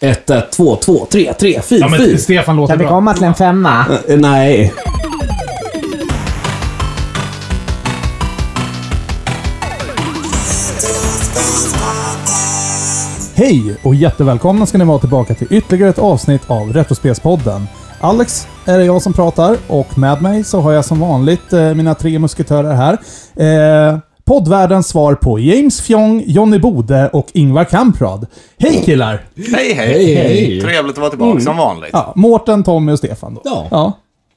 1, 1, 2, 2, 3, 3, 4, Ja, men 4. Stefan låter Kan vi bra. komma till en femma? Eh, Nej. Hej och jättevälkomna ska ni vara tillbaka till ytterligare ett avsnitt av Retrospelspodden. Alex är det jag som pratar och med mig så har jag som vanligt eh, mina tre musketörer här. Eh, poddvärldens svar på James Fjong, Johnny Bode och Ingvar Kamprad. Hej killar! Hej, hej. Hej, hej. Trevligt att vara tillbaka som vanligt. Ja, Mårten, Tommy och Stefan då. Ja.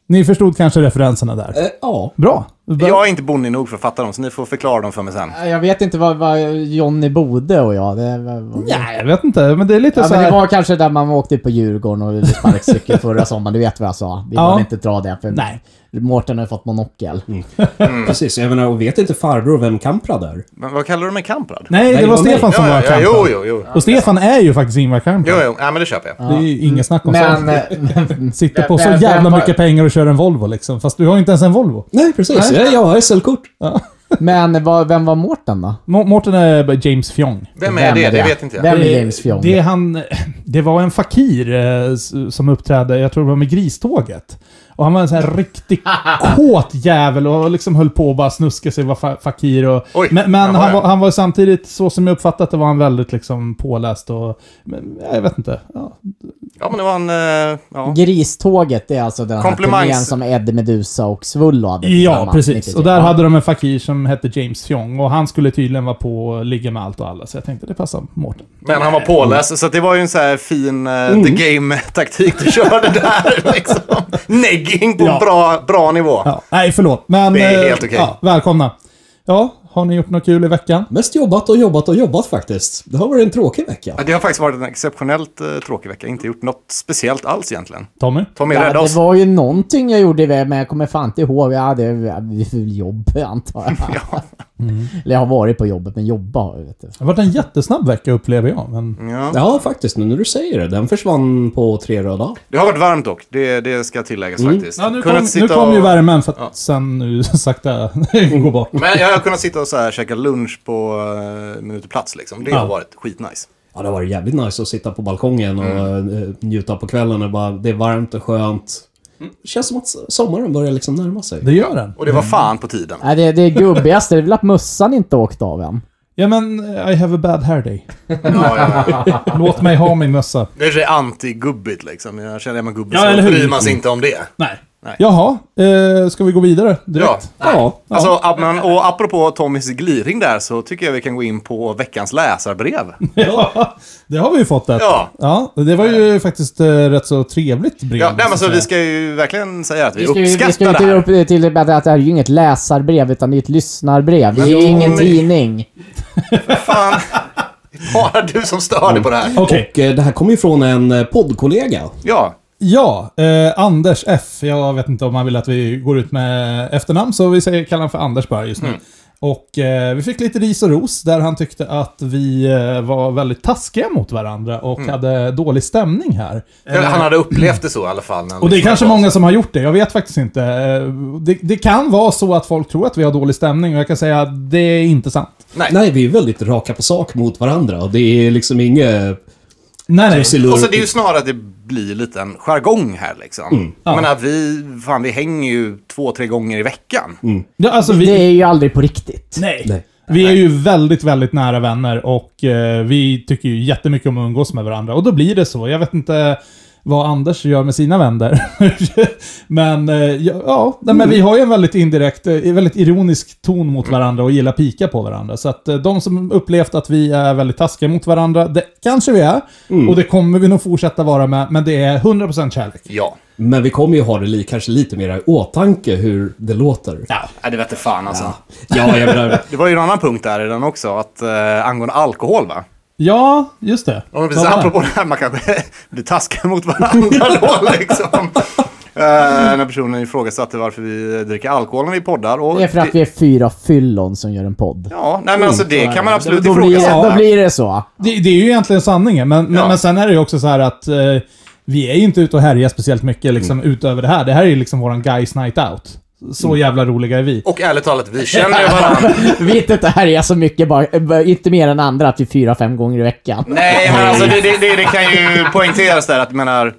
Ni förstod kanske referenserna där. Eh, Ja. Bra! Bra. Jag är inte bonnig nog för att fatta dem, så ni får förklara dem för mig sen. Jag vet inte vad, vad Johnny Bode och jag... Det, var- var- Nej, jag vet inte, men det är lite ja, Mm. så men här... det var kanske där man åkte på Djurgården och vi sparkcykel förra sommaren. Du vet vad jag sa. Vi Ja. behöver inte dra det. För Nej. Mm. Mårten har ju fått monokel. Precis, jag menar, och vet inte farbror vem Kamprad är? Men vad kallar du mig? Kamprad? Nej, det Nej, det var var mig. Stefan som var ja, Kamprad. jo, jo, jo. Och Stefan är ju faktiskt Ingvar Kamprad. Jo, jo. Ja, men det köper jag. Det är ju inget snack om Men... saken. men- Sitter på så men- jävla men- mycket pengar och kör en Volvo liksom. Fast du har ju inte ens en Volvo. Nej, precis. Jag, jag har SL-kort. Men vad, vem var Mårten då? Må- Mårten är James Fjong. Vem är det? Det vet inte jag. Vem är James Fjong? Det, är han, det var en fakir eh, s- som uppträdde, jag tror det var med Griståget. Och han var en sån här riktig kåt jävel och liksom höll på att bara snuska sig och var fa- fakir. Och, Oj, men men jaha, han, ja. var, han var samtidigt, så som jag uppfattat det, var han väldigt liksom påläst och... Men, jag vet inte. Ja. Ja, men det var en... eh, Ja. Griståget, det är alltså den här Komplimangs- turnén som Eddie Meduza och Svullo hade Ja, tillsammans, precis. 93. Och där Ja. hade de en fakir som hette James Fjong och han skulle tydligen vara på och ligga med allt och alla, så jag tänkte det passar Mårten. Men han var påläst, så det var ju en så här fin eh, the game-taktik du körde där. Liksom. Negging på en Ja. bra, bra nivå. Ja, nej, förlåt. Men, Det är eh, helt okej. ja, välkomna. Ja, har ni gjort något kul i veckan? Mest jobbat och jobbat och jobbat faktiskt. Det har varit en tråkig Ja, vecka. Det har faktiskt varit en exceptionellt eh, tråkig vecka. Inte gjort något speciellt alls egentligen. Tommy? Tommy, Ja, rädda det oss. var ju någonting jag gjorde, men jag kommer fan inte ihåg. Jag hade det var jobb, antar jag. Mm. Ja. Eller jag har varit på jobbet, men jobba har jag, vet du. Det har varit en jättesnabb vecka upplever jag, men... Ja. Ja, faktiskt. Nu när du säger det. Den försvann på tre röda. Det har varit varmt dock. Det, det ska tilläggas faktiskt. Ja, nu Kunnat kom, nu sitta kom ju och- värmen för att sen nu sakta gå bort. Men jag har kunnat sitta och så här, käka lunch på uh, minuterplats liksom. Det har varit skitnice. Ja, det var jävligt nice att sitta på balkongen och eh, njuta på kvällen. Och bara, det är varmt och skönt. Det känns som att sommaren börjar liksom närma sig. Det gör den. Och det var fan på tiden. Nej, det, det gubbigaste det är väl att mössan inte åkt av än. Ja men, eh, I have a bad hair day. Ja, ja, ja. Låt mig ha min mössa. Det är så anti-gubbigt liksom. Jag känner mig gubbig Ja, så eller hur? bryr man sig inte om det. Nej. Nej. Jaha, eh, ska vi gå vidare Ja. direkt? Ja. Alltså, ap- men, och apropå Tommys gliring där så tycker jag vi kan gå in på veckans läsarbrev. Ja, det har vi ju fått ett. Ja. ja det var ju faktiskt eh, rätt så trevligt brev. Ja, nej, men så måste vi jag ska ju verkligen säga att vi, Vi ska ju, vi ska ju uppskattar inte det här. upp till det med att det här är ju inget läsarbrev, utan det är ett lyssnarbrev. Det är ju Jo, ingen men- tidning. Fan, bara du som stör dig på det här. säga. Okej. Och eh, det här kommer ju från en eh, poddkollega. Ja, Ja, eh, Anders F. Jag vet inte om han vill att vi går ut med efternamn, så vi säger, kallar honom för Anders bara just nu. Mm. Och eh, vi fick lite ris och ros där han tyckte att vi eh, var väldigt taskiga mot varandra och hade dålig stämning här. Mm. Eh, eller han hade upplevt det så i alla fall. när han Och det är lyssnade kanske på oss. många som har gjort det, jag vet faktiskt inte. Eh, Det, det kan vara så att folk tror att vi har dålig stämning och jag kan säga att det är inte sant. Nej. Nej, vi är väldigt raka på sak mot varandra. Och det är liksom inget... Nej, nej. Och så Alltså, det är ju snarare att det blir lite en jargong här liksom. Mm. Jag menar, vi, fan, vi hänger ju två, tre gånger i veckan. Mm. Ja, alltså, vi, Det är ju aldrig på riktigt. Nej. Nej. Vi är ju väldigt, väldigt nära vänner och eh, vi tycker ju jättemycket om att umgås med varandra. Och då blir det så. Jag vet inte vad Anders gör med sina vänner. men eh, ja, ja nej, men vi har ju en väldigt indirekt, eh, väldigt ironisk ton mot varandra och gillar pika på varandra. Så att eh, de som upplevt att vi är väldigt taskiga mot varandra, det kanske vi är. Mm. Och det kommer vi nog fortsätta vara med, men det är 100% kärlek. Ja. Men vi kommer ju ha det li, kanske lite mer i åtanke hur det låter. Ja, det vet jag fan alltså. Ja, jag menar... Det var ju en annan punkt där i den också, att eh, angående alkohol va? Ja, just det. Ja, men Vad precis, var det? apropå det här, man kanske blir taskig mot varandra då liksom. Eh, när personen ifrågasatte varför vi dricker alkohol när vi poddar. Och Det är för att vi är fyra fyllon som gör en podd. Ja, nej men alltså det kan man absolut Då blir det, ifrågasätta. då blir det så. Det, det är ju egentligen sanningen, men, men, Ja. men sen är det ju också så här att eh, vi är ju inte ute och härjar speciellt mycket liksom, utöver det här. Det här är ju liksom våran guys night out. Så jävla roliga är vi. Och ärligt talat, vi känner ju varandra. Vet inte härja så mycket, bara, inte mer än andra, typ fyra, fem gånger i veckan. Nej, men alltså det, det, det, det kan ju poängteras där att jag menar,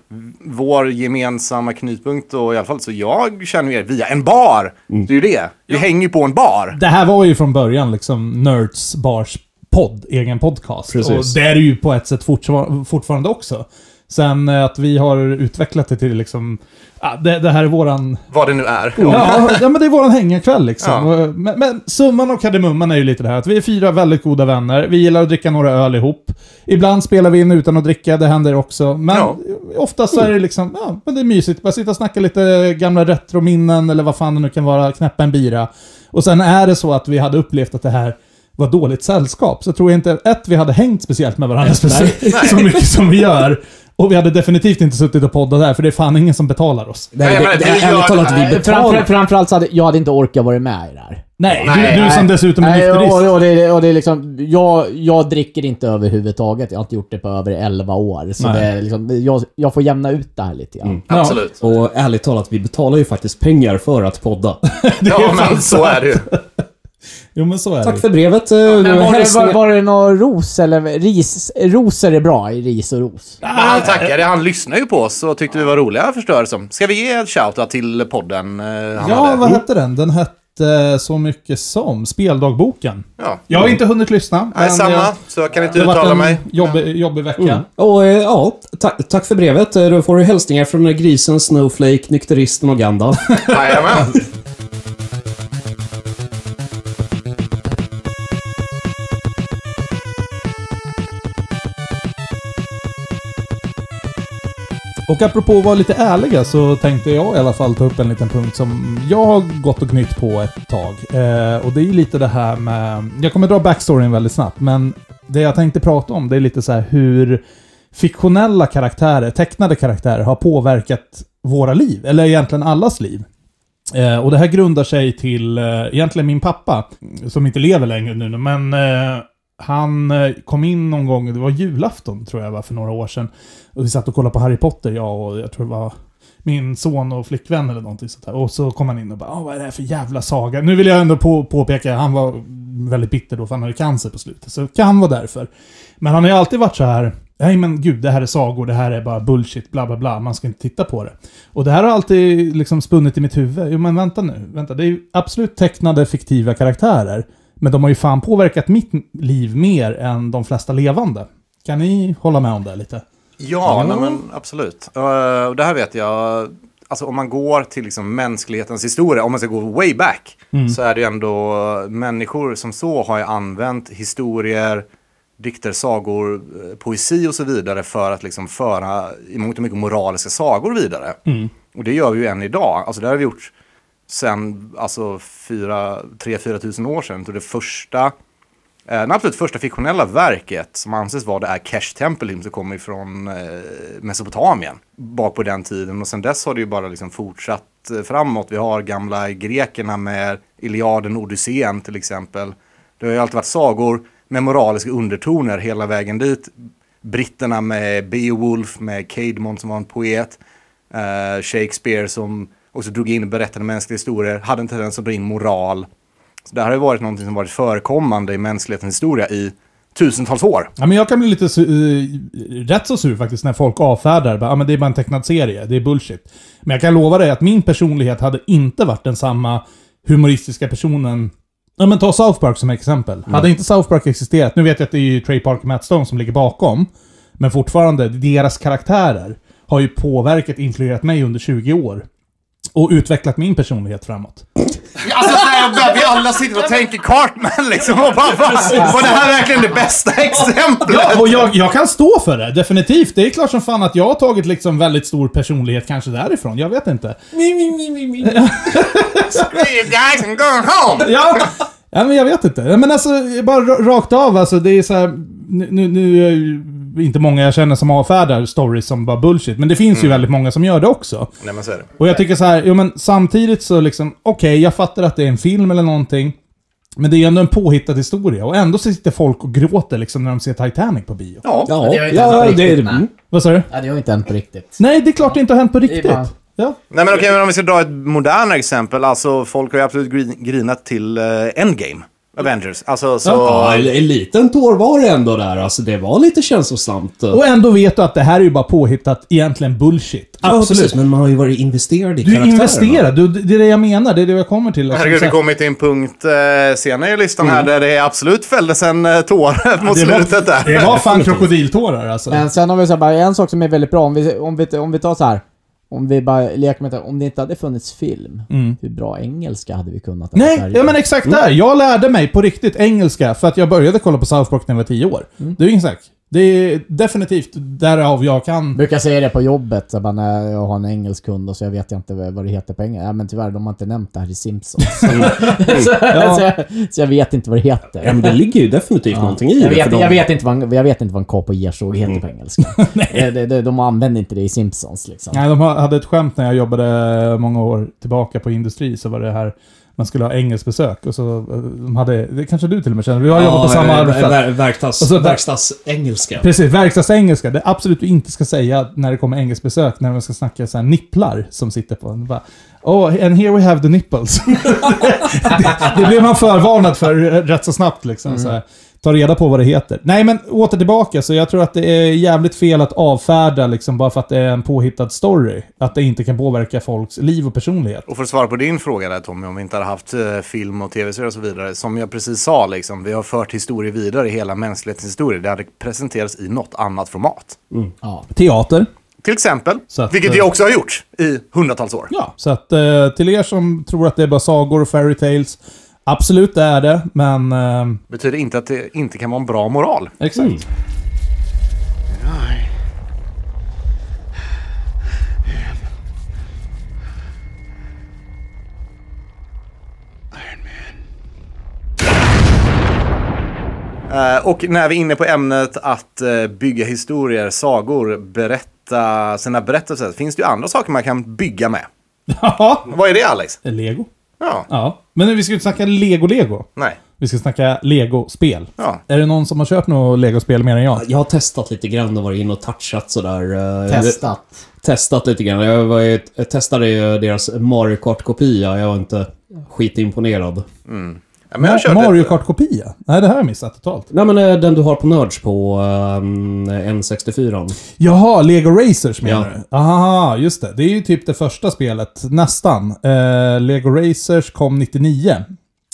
vår gemensamma knutpunkt och i alla fall så jag känner er via en bar. Mm. Det är ju det. Vi hänger ju på en bar. Det här var ju från början liksom Nerds Bars podd, egen podcast. Precis. Och det är det ju på ett sätt fortfar- fortfarande också. Sen eh, att vi har utvecklat det till liksom, ah, det, det här är våran Vad det nu är. Ja, ja, men det är våran hängakväll liksom. Ja. Och, Men, men summan och kardemumman är ju lite det här att vi är fyra väldigt goda vänner. Vi gillar att dricka några öl ihop. Ibland spelar vi in utan att dricka, det händer också. Men Ja. oftast så är det liksom, ja, men det är mysigt. Bara sitta och snacka lite gamla retrominnen eller vad fan det nu kan vara, knäppa en bira. Och sen är det så att vi hade upplevt att det här var dåligt sällskap, så tror jag inte, ett, vi hade hängt speciellt med varandra speci- så mycket som vi gör. Och vi hade definitivt inte suttit och poddat där, för det är fan ingen som betalar oss. Nej, men det gör- ärligt talat, vi Nej, betalar. Framför, framförallt så hade jag hade inte orkat vara med i det här. Nej, Nej. du, du som dessutom är Nej, nykterist. och, och, det, och det är liksom, jag, jag dricker inte överhuvudtaget. Jag har inte gjort det på över 11 år. Så Nej. Mm. det är liksom, jag, jag får jämna ut det här lite grann. Absolut. Och ärligt talat, vi betalar ju faktiskt pengar för att podda. Ja, men så är det ju. Jo, men så är Tack det. för brevet. eh, nu Men var, det, hälsningar. var, var det någon ros eller ris? Rosor är bra i ris och ros. Men han tackade, han lyssnade ju på oss och tyckte vi var roliga förstår jag det som. Ska vi ge en shoutout till podden eh, han Ja, hade? vad hette den? Den hette Så mycket som Speldagboken. Ja. Jag har inte hunnit lyssna. Nej, men samma. jag- Så jag kan inte Det har uttala varit mig. en jobbig, jobbig vecka. Och eh, ja, ta- tack för brevet. Eh, Då får du hälsningar från eh, grisen, Snowflake, nykteristen och Gandalf. Jajamän. Och apropå att vara lite ärliga så tänkte jag i alla fall ta upp en liten punkt som jag har gått och knytt på ett tag. Eh, och det är ju lite det här med... Jag kommer dra backstoryn väldigt snabbt, men det jag tänkte prata om det är lite så här hur fiktionella karaktärer, tecknade karaktärer, har påverkat våra liv. Eller egentligen allas liv. Eh, och det här grundar sig till eh, egentligen min pappa, som inte lever längre nu, men eh, han eh, kom in någon gång, det var julafton tror jag var för några år sedan, och vi satt och kollade på Harry Potter, jag och jag tror det var min son och flickvän eller någonting sånt där. Och så kom han in och bara "Åh, vad är det här för jävla saga? Nu vill jag ändå på, påpeka, han var väldigt bitter då för han hade cancer på slutet, så det kan vara därför. Men han har ju alltid varit så här, nej men gud, det här är sagor, det här är bara bullshit, bla bla bla, man ska inte titta på det. Och det här har alltid liksom spunnit i mitt huvud. Jo men vänta nu, vänta. Det är ju absolut tecknade fiktiva karaktärer. Men de har ju fan påverkat mitt liv mer än de flesta levande. Kan ni hålla med om det lite? Ja, nej, men absolut. Eh, Och det här vet jag. Alltså om man går till liksom mänsklighetens historia, om man ska gå way back, så är det ju ändå eh, människor som så har ju använt historier, dikter, sagor, eh, poesi och så vidare för att liksom föra i mångt och mycket moraliska sagor vidare. Och det gör vi ju än idag. Alltså det har vi gjort sen alltså 3-4 tusen år sedan. Jag tror det första Eh, Det absolut första fiktionella verket som anses vara det är Kesh Tempelim som kommer ifrån eh, Mesopotamien bak på den tiden och sen dess har det ju bara liksom fortsatt eh, framåt. Vi har gamla grekerna med Iliaden och Odysseen till exempel. Det har ju alltid varit sagor med moraliska undertoner hela vägen dit. Britterna med Beowulf, med Cadmon som var en poet, eh, Shakespeare som också drog in berättande mänskliga historier, hade en tendens att dra in moral. Så det här har ju varit någonting som varit förekommande i mänsklighetens historia i tusentals år. Ja, men jag kan bli lite su- eh, rätt så sur faktiskt när folk avfärdar. Bara, Ja, men det är bara en tecknad serie, det är bullshit. Men jag kan lova dig att min personlighet hade inte varit den samma humoristiska personen. Ja, men ta South Park som exempel. Hade inte South Park existerat, nu vet jag att det är ju Trey Parker och Matt Stone som ligger bakom. Men fortfarande, deras karaktärer har ju påverkat, influerat mig under 20 år. Och utvecklat min personlighet framåt. Alltså nej, jag börjar- vi alla sitter och tänker Cartman liksom och bara va? Var det här verkligen det bästa exemplet? Ja, och jag, jag kan stå för det, definitivt. Det är klart som fan att jag har tagit liksom väldigt stor personlighet kanske därifrån, jag vet inte. You guys can go home! Ja, ja men jag vet inte. Ja, Men alltså, bara ra- rakt av alltså, det är så här, nu, nu- nu är ju inte många jag känner som avfärdar stories som bara bullshit, men det finns ju väldigt många som gör det också. Nej men så är det. Och jag tycker så här, jo men samtidigt så liksom, okej, jag fattar att det är en film eller någonting. Men det är ju ändå en påhittad historia och ändå så sitter folk och gråter liksom när de ser Titanic på bio. Ja. Ja, det har ju inte ja, hänt på det är riktigt, nej. mm. Vad sa du? Ja, det har inte hänt på riktigt. Nej, det är klart det inte har hänt på Det är riktigt. bara- Ja. Nej men okej, men om vi ska dra ett modernare exempel. Alltså folk har ju absolut grin- grinat till eh, Endgame. Avengers. Alltså så... Ja, en en liten tår var det ändå där. Alltså det var lite känslosamt. Oh, Och ändå vet du att det här är ju bara påhittat, egentligen bullshit. Ja, precis, men man har ju varit investerad i Du karaktärerna. investerar, du, det är det jag menar, det är det jag kommer till. Liksom, Herregud, så vi här- kommer till en punkt eh, senare i listan här där det absolut fälldes en eh, tår mot det var- slutet där. Det var fan krokodiltårar alltså. Men sen om vi säger bara en sak som är väldigt bra, om vi, om vi, om vi tar så här. Om vi bara leker med det, om det inte hade funnits film, hur bra engelska hade vi kunnat ha i Mm. Nej, Sverige? ja, men exakt där. Jag lärde mig på riktigt engelska för att jag började kolla på South Park när jag var 10 år. Det är ju inget snack. Det är definitivt därav jag kan... brukar säga det på jobbet, så bara, när jag har en engelsk kund och så jag vet jag inte vad vad det heter på engelska. Ja, men tyvärr, de har inte nämnt det här i Simpsons. så, så, jag, så jag vet inte vad det heter. Ja, men Mm. det ligger ju definitivt någonting i jag, det. vet, för Mm. de- jag, vet inte vad, en- jag vet inte vad en kap och gersåg heter på engelska. Eh, det- det- de använder inte det i Simpsons liksom. Nej, de ha- hade ett skämt när jag jobbade många år tillbaka på industri så var det här man skulle ha engelskt besök och så eh, de hade, det kanske du till och med känner, vi har jobbat på samma eh, arbetsplats. ver- verkstads, Och så- verkstadsengelska. Precis, verkstadsengelska. Det absolut du inte ska säga när det kommer engelskt besök, när man ska snacka så här nipplar som sitter på en. Bara, oh, and here we have the nipples. det, det blev man förvarnad för rätt så snabbt liksom. Så här. Ta reda på vad det heter. Nej, men åter tillbaka. Så jag tror att det är jävligt fel att avfärda liksom bara för att det är en påhittad story. Att det inte kan påverka folks liv och personlighet. Och för att svara på din fråga där Tommy, om vi inte hade haft eh, film och tv-serier och så vidare. Som jag precis sa, liksom, vi har fört historier vidare i hela mänsklighetens historia. Det hade presenterats i något annat format. Ja. Teater. Till exempel, Så att, vilket eh, vi också har gjort i hundratals år. Ja, så att eh, till er som tror att det är bara sagor och fairy tales. Absolut, det är det, men... Eh, Betyder inte att det inte kan vara en bra moral. exakt. Mm. I am Iron Man. Eh, och när vi är inne på ämnet att eh, bygga historier, sagor, berätta sina berättelser. Finns det ju andra saker man kan bygga med. Ja. Vad är det Alex? Lego. Ja, Ja. Men nu, vi ska ju inte snacka Lego-Lego. nej. Vi ska snacka Lego-spel. Ja. Är det någon som har köpt något Lego-spel mer än jag? Jag har testat lite grann och varit inne och touchat sådär. eh, Testat. testat lite grann. Jag, var, ju- jag testade ju deras Mario Kart-kopia. Jag var inte skitimponerad. Ja, men jag körde Mario ett- Kart-kopia? Nej, det här har jag missat totalt. Nej men eh, den du har på Nörds på ehm, N64. Jaha, Lego Racers menar Ja. du? Aha, just det. Det är ju typ det första spelet, nästan. Eh, Lego Racers kom 99.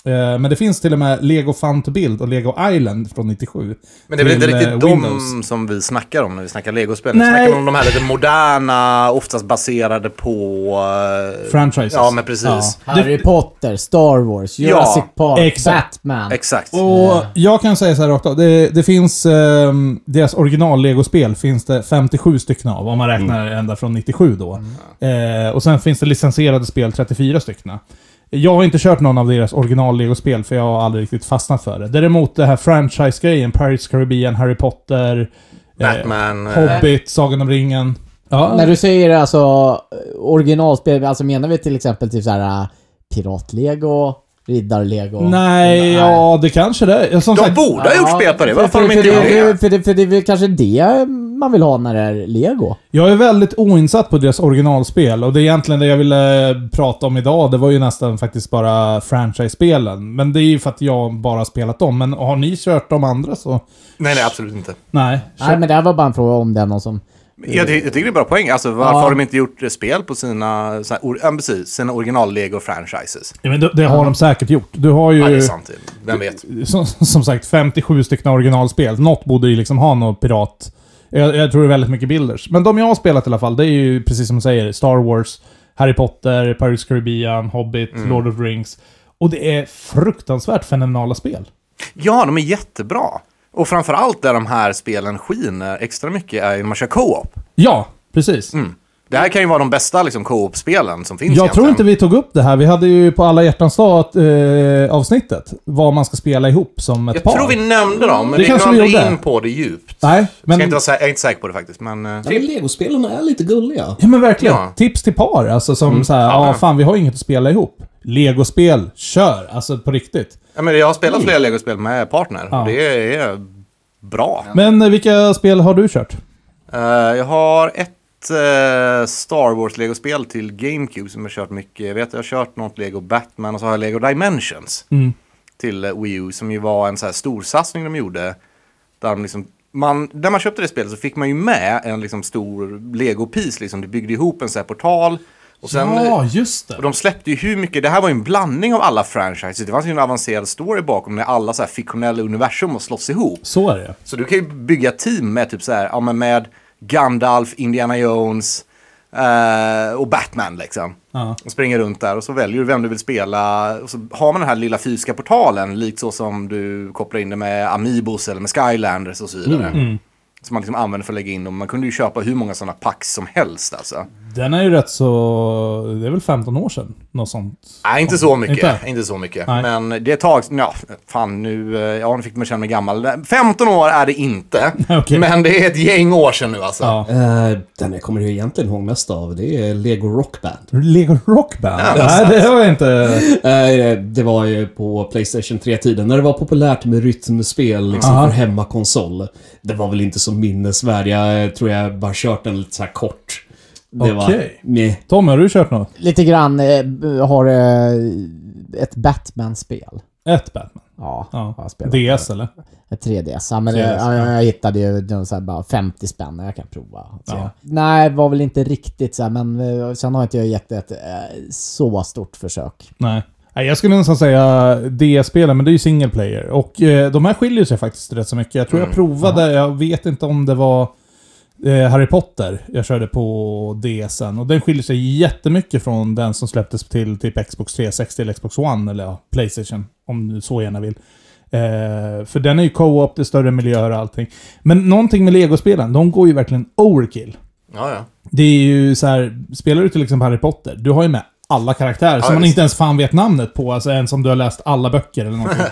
Eh, men det finns till och med Lego Fun to Build och Lego Island från 97. Men det är väl inte till, riktigt eh, Windows. de som vi snackar om när vi snackar legospel. Nu Nej. snackar vi om de här lite moderna, oftast baserade på... eh, Franchises. Ja, men precis. Harry Potter, Star Wars, Ja, Jurassic Park, exakt. Batman. Exakt. Och jag kan säga så här rakt av. Det, det finns... ehm, deras original Lego-spel finns det 57 stycken av, om man räknar Mm. ända från 97 då. Eh, och sen finns det licensierade spel 34 stycken. Jag har inte kört någon av deras original Lego-spel, för jag har aldrig riktigt fastnat för det. Däremot det här franchise-grejen, Pirates Caribbean, Harry Potter, Batman. eh, Hobbit, Sagan om ringen. Ja, När du säger alltså originalspel, alltså menar vi till exempel typ såhär piratlego, riddarlego? nej, ja, det kanske det är. Som De sagt, borde ha gjort spel på det. Varför har de för, inte gjort för, det? för, det, för det är väl kanske det man vill ha när det är lego. Jag är väldigt oinsatt på deras originalspel och det är egentligen det jag ville prata om idag. Det var ju nästan faktiskt bara franchise-spelen. Men det är ju för att jag bara har spelat dem. Men har ni kört de andra så... Nej, nej, absolut inte. Nej. Nej men det här var bara en fråga om det är någon som... Jag, ty- jag tycker det är bra poäng. Alltså, varför Ja. har de inte gjort eh, spel på sina, så här, or- ja, precis, sina original-lego-franchises? Ja, men det, det har de säkert gjort. Du har Ja, det är ju sant. Vem vet? som, som sagt 57 stycken originalspel. Något borde ju liksom ha något pirat... Jag, jag tror det är väldigt mycket builders. Men de jag har spelat i alla fall, det är ju precis som du säger. Star Wars, Harry Potter, Pirates Caribbean, Hobbit, Mm. Lord of the Rings. Och det är fruktansvärt fenomenala spel. Ja, de är jättebra. Och framförallt där de här spelen skiner extra mycket är ju när man kör co-op. Ja, precis. Mm. Det här kan ju vara de bästa liksom, co-op-spelen som finns Jag tror egentligen. inte vi tog upp det här. Vi hade ju på alla hjärtans dag att, eh, avsnittet vad man ska spela ihop som ett Jag par. tror vi nämnde dem, men Det vi kanske går vi aldrig gjorde. in på det djupt. Nej, Jag, ska men... inte vara sä- jag är inte säker på det faktiskt, men... eh, Ja, men Legospelen är lite gulliga. Ja, men verkligen. Ja. Mm. Tips till par. Alltså som så här, ja, fan vi har inget att spela ihop. Legospel, kör. Alltså på riktigt. Ja, men jag har spelat Mm. flera legospel med partner. och Det är bra. Men eh, vilka spel har du kört? Eh, jag har ett ett eh, Star Wars-legospel till GameCube som jag har kört mycket. Jag vet jag har kört något Lego Batman och så har jag Lego Dimensions Mm. till eh, Wii U som ju var en så här storsatsning de gjorde. Där de liksom, man, när man köpte det spelet så fick man ju med en liksom stor Lego-piece. Liksom. Du byggde ihop en så här portal. Och sen, ja, just det. och de släppte ju hur mycket, det här var ju en blandning av alla franchises. Det fanns ju en avancerad story bakom när alla så här fiktionella universum har slåss ihop. Så är det. Så du kan ju bygga team med typ så här, ja men med Gandalf, Indiana Jones eh, och Batman liksom. Ja. Och springer runt där och så väljer du vem du vill spela. Och så har man den här lilla fysiska portalen, likt så som du kopplar in det med Amiibos eller med Skylanders och så vidare. Som man liksom använder för att lägga in dem. Man kunde ju köpa hur många sådana packs som helst alltså. Den är ju rätt så... Det är väl 15 år sedan? Något sånt. Nej, inte så mycket. Inte? Inte, så mycket. Nej. Men det är ett tag... Ja, fan nu... eh, Ja, nu fick man känna mig gammal. 15 år är det inte. Okej. Men det är ett gäng år sedan nu alltså. Ja. Eh, den jag kommer ju egentligen ihåg mest av, det är Lego Rock Band. Lego Rock Band? Nej, det har jag inte... Eh, det var ju på Playstation 3-tiden, när det var populärt med rytmspel liksom, Aha. för hemmakonsol. Det var väl inte så minnesvärd. Jag eh, tror jag bara kört den lite så här kort. Det var... Okej. Meh. Tommy, har du kört något? Lite grann eh, b- har eh, ett Batman-spel. Ett Batman? Ja, Ja. har jag spelat. DS eller? Ett 3DS. Ja, men, eh, 3DS, ja, ja. jag hittade ju den så här, bara 50 spänn, jag kan prova. och se. Ja. Nej, var väl inte riktigt så här, men eh, sen har inte jag gett ett eh, så stort försök. Nej. Nej, jag skulle nästan säga DS-spelen, men det är ju single player. Och eh, de här skiljer sig faktiskt rätt så mycket. Jag tror jag provade, jag vet inte om det var eh, Harry Potter jag körde på DSen. Och den skiljer sig jättemycket från den som släpptes till typ Xbox 360 eller Xbox One, eller ja, Playstation, om du så gärna vill. Eh, för den är ju co-op, det är större miljöer och allting. Men någonting med Lego-spelen, de går ju verkligen overkill. Ja, ja. Det är ju så här, spelar du till exempel Harry Potter, du har ju med alla karaktärer som Ja, man visst. inte ens fan vet namnet på, alltså ens om du har läst alla böcker eller någonting.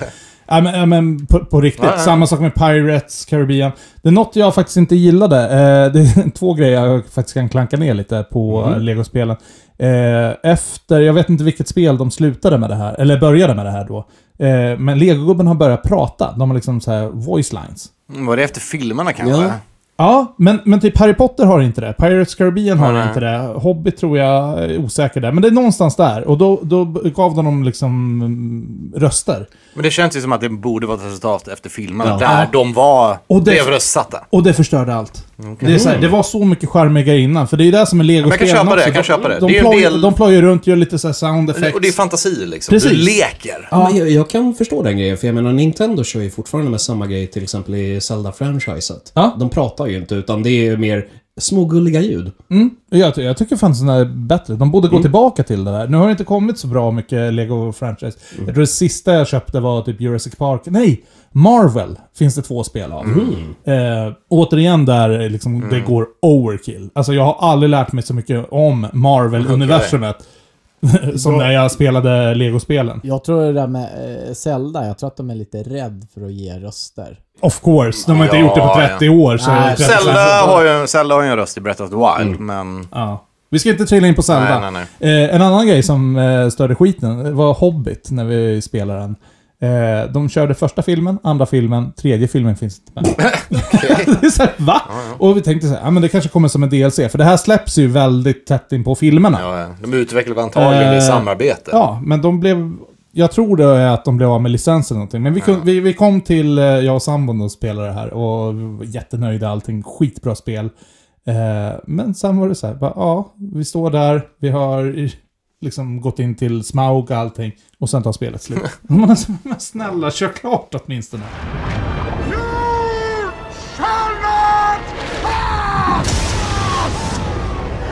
Ja men, ja, men på, på riktigt. Ja, ja. Samma sak med Pirates, Caribbean. Det är något jag faktiskt inte gillade. Eh, det är två grejer jag faktiskt kan klanka ner lite på Mhm. mm. Lego-spelen. Eh, efter, jag vet inte vilket spel de slutade med det här, eller började med det här då. Eh, men Legogubben har börjat prata. De har liksom så här voice lines. Mm, Var det efter filmerna kanske? Ja. Ja, men, men typ Harry Potter har inte det. Pirates Caribbean har Nej. inte det. Hobbit tror jag är osäker där. Men det är någonstans där. Och då, då gav de dem liksom mm, röster. Men det känns ju som att det borde vara ett resultat efter filmerna. Ja. Där Ja. de var Och det- brevröstsatta. Och det förstörde allt. Det, är så här, det var så mycket charmigare innan, för det är ju det som är lego Men Mm. jag kan köpa det, jag kan köpa det. De, Det är en plojar- del- de plojar runt, gör lite så här sound effects. Och det är fantasi liksom. Precis. Du leker. Ja, men jag, jag kan förstå den grejen, för jag menar Nintendo kör ju fortfarande med samma grej till exempel i Zelda-franchiset. Ja. De pratar ju inte, utan det är ju mer små gulliga ljud. Mm. Jag, ty- jag tycker fan sådana är bättre. De borde gå Mm. tillbaka till det där. Nu har det inte kommit så bra mycket Lego franchise. Mm. Jag tror det sista jag köpte var typ Jurassic Park. Nej! Marvel finns det två spel av. Mm. Eh, återigen där liksom, det går overkill. Alltså jag har aldrig lärt mig så mycket om Marvel-universumet. som när jag spelade Lego-spelen. Jag tror det där med eh, Zelda, jag tror att de är lite rädd för att ge röster. Of course, de har inte Ja, gjort det på 30 år. Så Nej, 30 Zelda har, ju, Zelda har ju en röst i Breath of the Wild, Mm. men... Ja. Vi ska inte trilla in på Zelda. Nej, nej, Eh, en annan grej som eh, störde skiten var Hobbit, när vi spelade den. Eh, de körde första filmen, andra filmen, tredje filmen finns inte med. det är så här, va? Och vi tänkte så här, ja men det kanske kommer som en DLC, för det här släpps ju väldigt tätt in på filmerna. Ja, Ja, ja. de utvecklade antagligen i Eh, samarbete. men de blev... Jag tror det är att de blev av med licensen eller någonting. Men vi, kun, vi, vi kom till, eh, jag och sambon och spelade det här och vi var jättenöjda allting. Skitbra spel. Eh, men sen var det så här, bara, ja, vi står där, vi har i- liksom gått in till Smaug och allting. Och sen tar spelet slut. Men alltså, men snälla, kör klart åtminstone.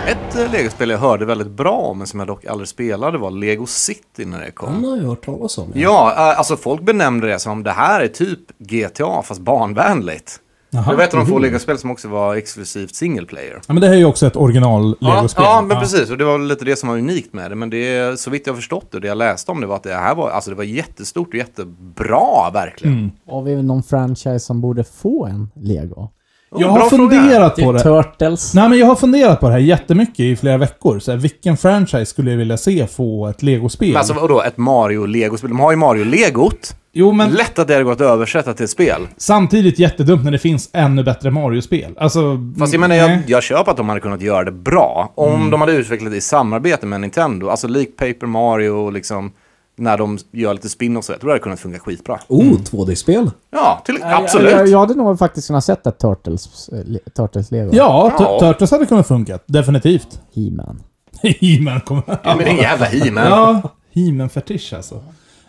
Ett eh, legospel jag hörde väldigt bra om, men som jag dock aldrig spelade, var Lego City när det kom. Den har jag hört talas om. Ja, eh, alltså folk benämnde det som det här är typ GTA, fast barnvänligt. Jaha. Det var ett av de få legospel som också var exklusivt single player. Ja, men det här är ju också ett original Lego-spel. Ja, ja, men precis. Och det var väl lite det som var unikt med det. Men det, så vitt jag förstått och det jag läste om det var att det här var, alltså det var jättestort och jättebra verkligen. Mm. Har vi någon franchise som borde få en Lego? Oh, Jag har bra fråga. funderat Det på är det. Turtles. Nej, men jag har funderat på det här jättemycket i flera veckor. Så här, vilken franchise skulle jag vilja se få ett legospel? Alltså, Men alltså vadå, ett Mario-legospel? De har ju Mario-legot. Jo, men Lätt att det hade gått att översätta till ett spel. samtidigt jättedumt när det finns ännu bättre Mario-spel. Alltså... Fast jag menar, nej. jag, jag köper att de hade kunnat göra det bra. Om de hade utvecklat det i samarbete med Nintendo. Alltså lik Paper Mario och liksom när de gör lite spin och så. Jag tror det hade kunnat funka skitbra. Oh, 2D-spel. Ja, till, absolut. Jag, jag hade nog faktiskt kunnat sett ett Turtles, eh, le- Turtles-lego. Ja, Tur- Ja. Turtles hade kunnat funka. Definitivt. He-Man. He-Man kommer... Ja, men det är en jävla He-Man. Ja, He-Man-fetisch alltså.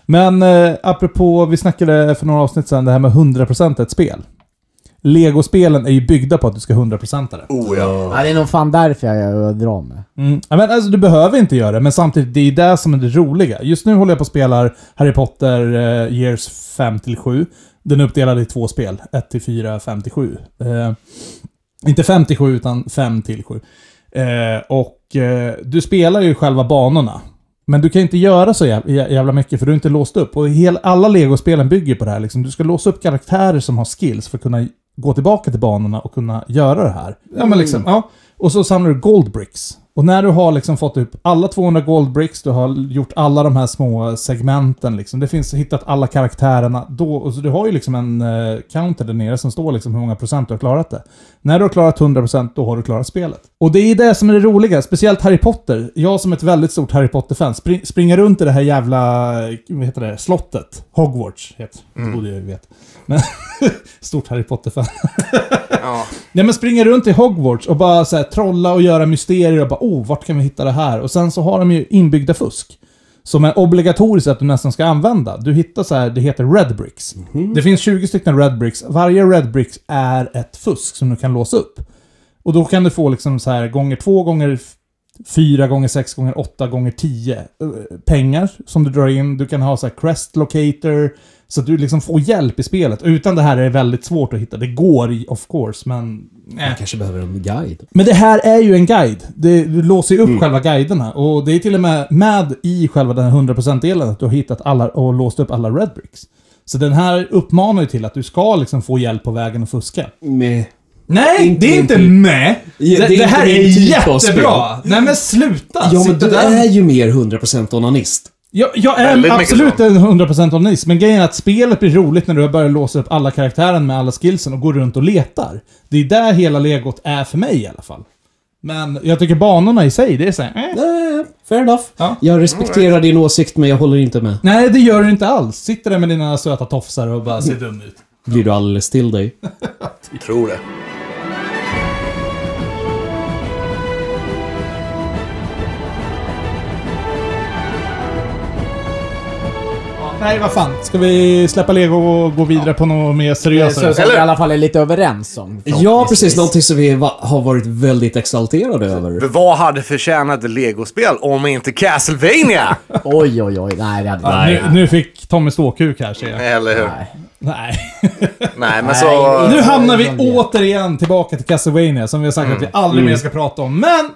Men eh, apropå, vi snackade för några avsnitt sedan det här med 100% ett spel. Lego-spelen är ju byggda på att du ska 100% det. Oh, ja. Ja, det är nog fan därför jag, jag drar mig. Mm. Ja, Men alltså, du behöver inte göra det, men samtidigt, det är det som är det roliga. Just nu håller jag på och spelar Harry Potter eh, Years 5-7. Den är uppdelad i två spel. 1-4, 5-7. Eh, inte 5-7, utan 5-7. Eh, och eh, du spelar ju själva banorna. Men du kan inte göra så jäv- jä- jävla mycket för du är inte låst upp. Och hel, alla legospelen bygger på det här. Liksom. Du ska låsa upp karaktärer som har skills för att kunna gå tillbaka till banorna och kunna göra det här. Ja, men liksom, ja. Och så samlar du goldbricks. Och när du har liksom fått upp alla 200 goldbricks, du har gjort alla de här små segmenten, liksom. det finns hittat alla karaktärerna. Då, och så du har ju liksom en eh, counter där nere som står liksom hur många procent du har klarat det. När du har klarat 100% då har du klarat spelet. Och det är det som är det roliga, speciellt Harry Potter. Jag som ett väldigt stort Harry Potter-fan spring, springer runt i det här jävla, eh, vad heter det, slottet. Hogwarts heter det, borde jag ju veta. Men, stort Harry Potter-fan. Ja. Nej men springer runt i Hogwarts och bara så här, trolla och göra mysterier och bara oh, vart kan vi hitta det här? Och sen så har de ju inbyggda fusk. Som är obligatoriskt att du nästan ska använda. Du hittar så här, det heter Red Bricks. Det finns 20 stycken Red Bricks. Varje Red Bricks är ett fusk som du kan låsa upp. Och då kan du få liksom så här gånger två, gånger f- fyra, gånger sex, gånger åtta, gånger tio eh, pengar som du drar in. Du kan ha så här crest locator. Så att du liksom får hjälp i spelet. Utan det här är det väldigt svårt att hitta. Det går i- of course, men... Man kanske behöver en guide. Men det här är ju en guide. Det, du låser ju upp Mm. själva guiderna. Och det är till och med med i själva den här 100%-delen att du har hittat alla och låst upp alla red bricks. Så den här uppmanar ju till att du ska liksom få hjälp på vägen och fuska. Med... Nej, Inte det är min inte typ. med! Ja, det, det är det här inte min är typ av jättebra! Nej men sluta! Ja, men Sitta Alltså, du där. är ju mer 100% onanist. Jag, jag är Väldigt mycket absolut så. en 100% onanist, men grejen är att spelet blir roligt när du har börjat låsa upp alla karaktärer med alla skillsen och går runt och letar. Det är där hela legot är för mig i alla fall. Men jag tycker banorna i sig, det är såhär... Eh. Nej, fair enough. Ja. Jag respekterar din åsikt, men jag håller inte med. Nej, det gör du inte alls. Sitter där med dina söta tofsar och bara ser dum ut. Blir du alldeles till dig? Tror det. Ja, Nej, vad fan. Ska vi släppa lego och gå vidare på något mer seriöst? Så som vi Eller? i alla fall Alltså, är lite överens om. Ja, precis. Någonting som vi va- har varit väldigt exalterade över. Men Vad hade förtjänat ett legospel om inte Castlevania? Oj, oj, oj. Nej, det hade Ja, Nej. Nu, nu fick Tommy ståkuk här ser jag. Eller hur? Nej, Nej. men Nej, så... Nu hamnar vi Ja, det är- återigen tillbaka till Castlevania som vi har sagt att vi Mm. aldrig mer ska prata om. Men!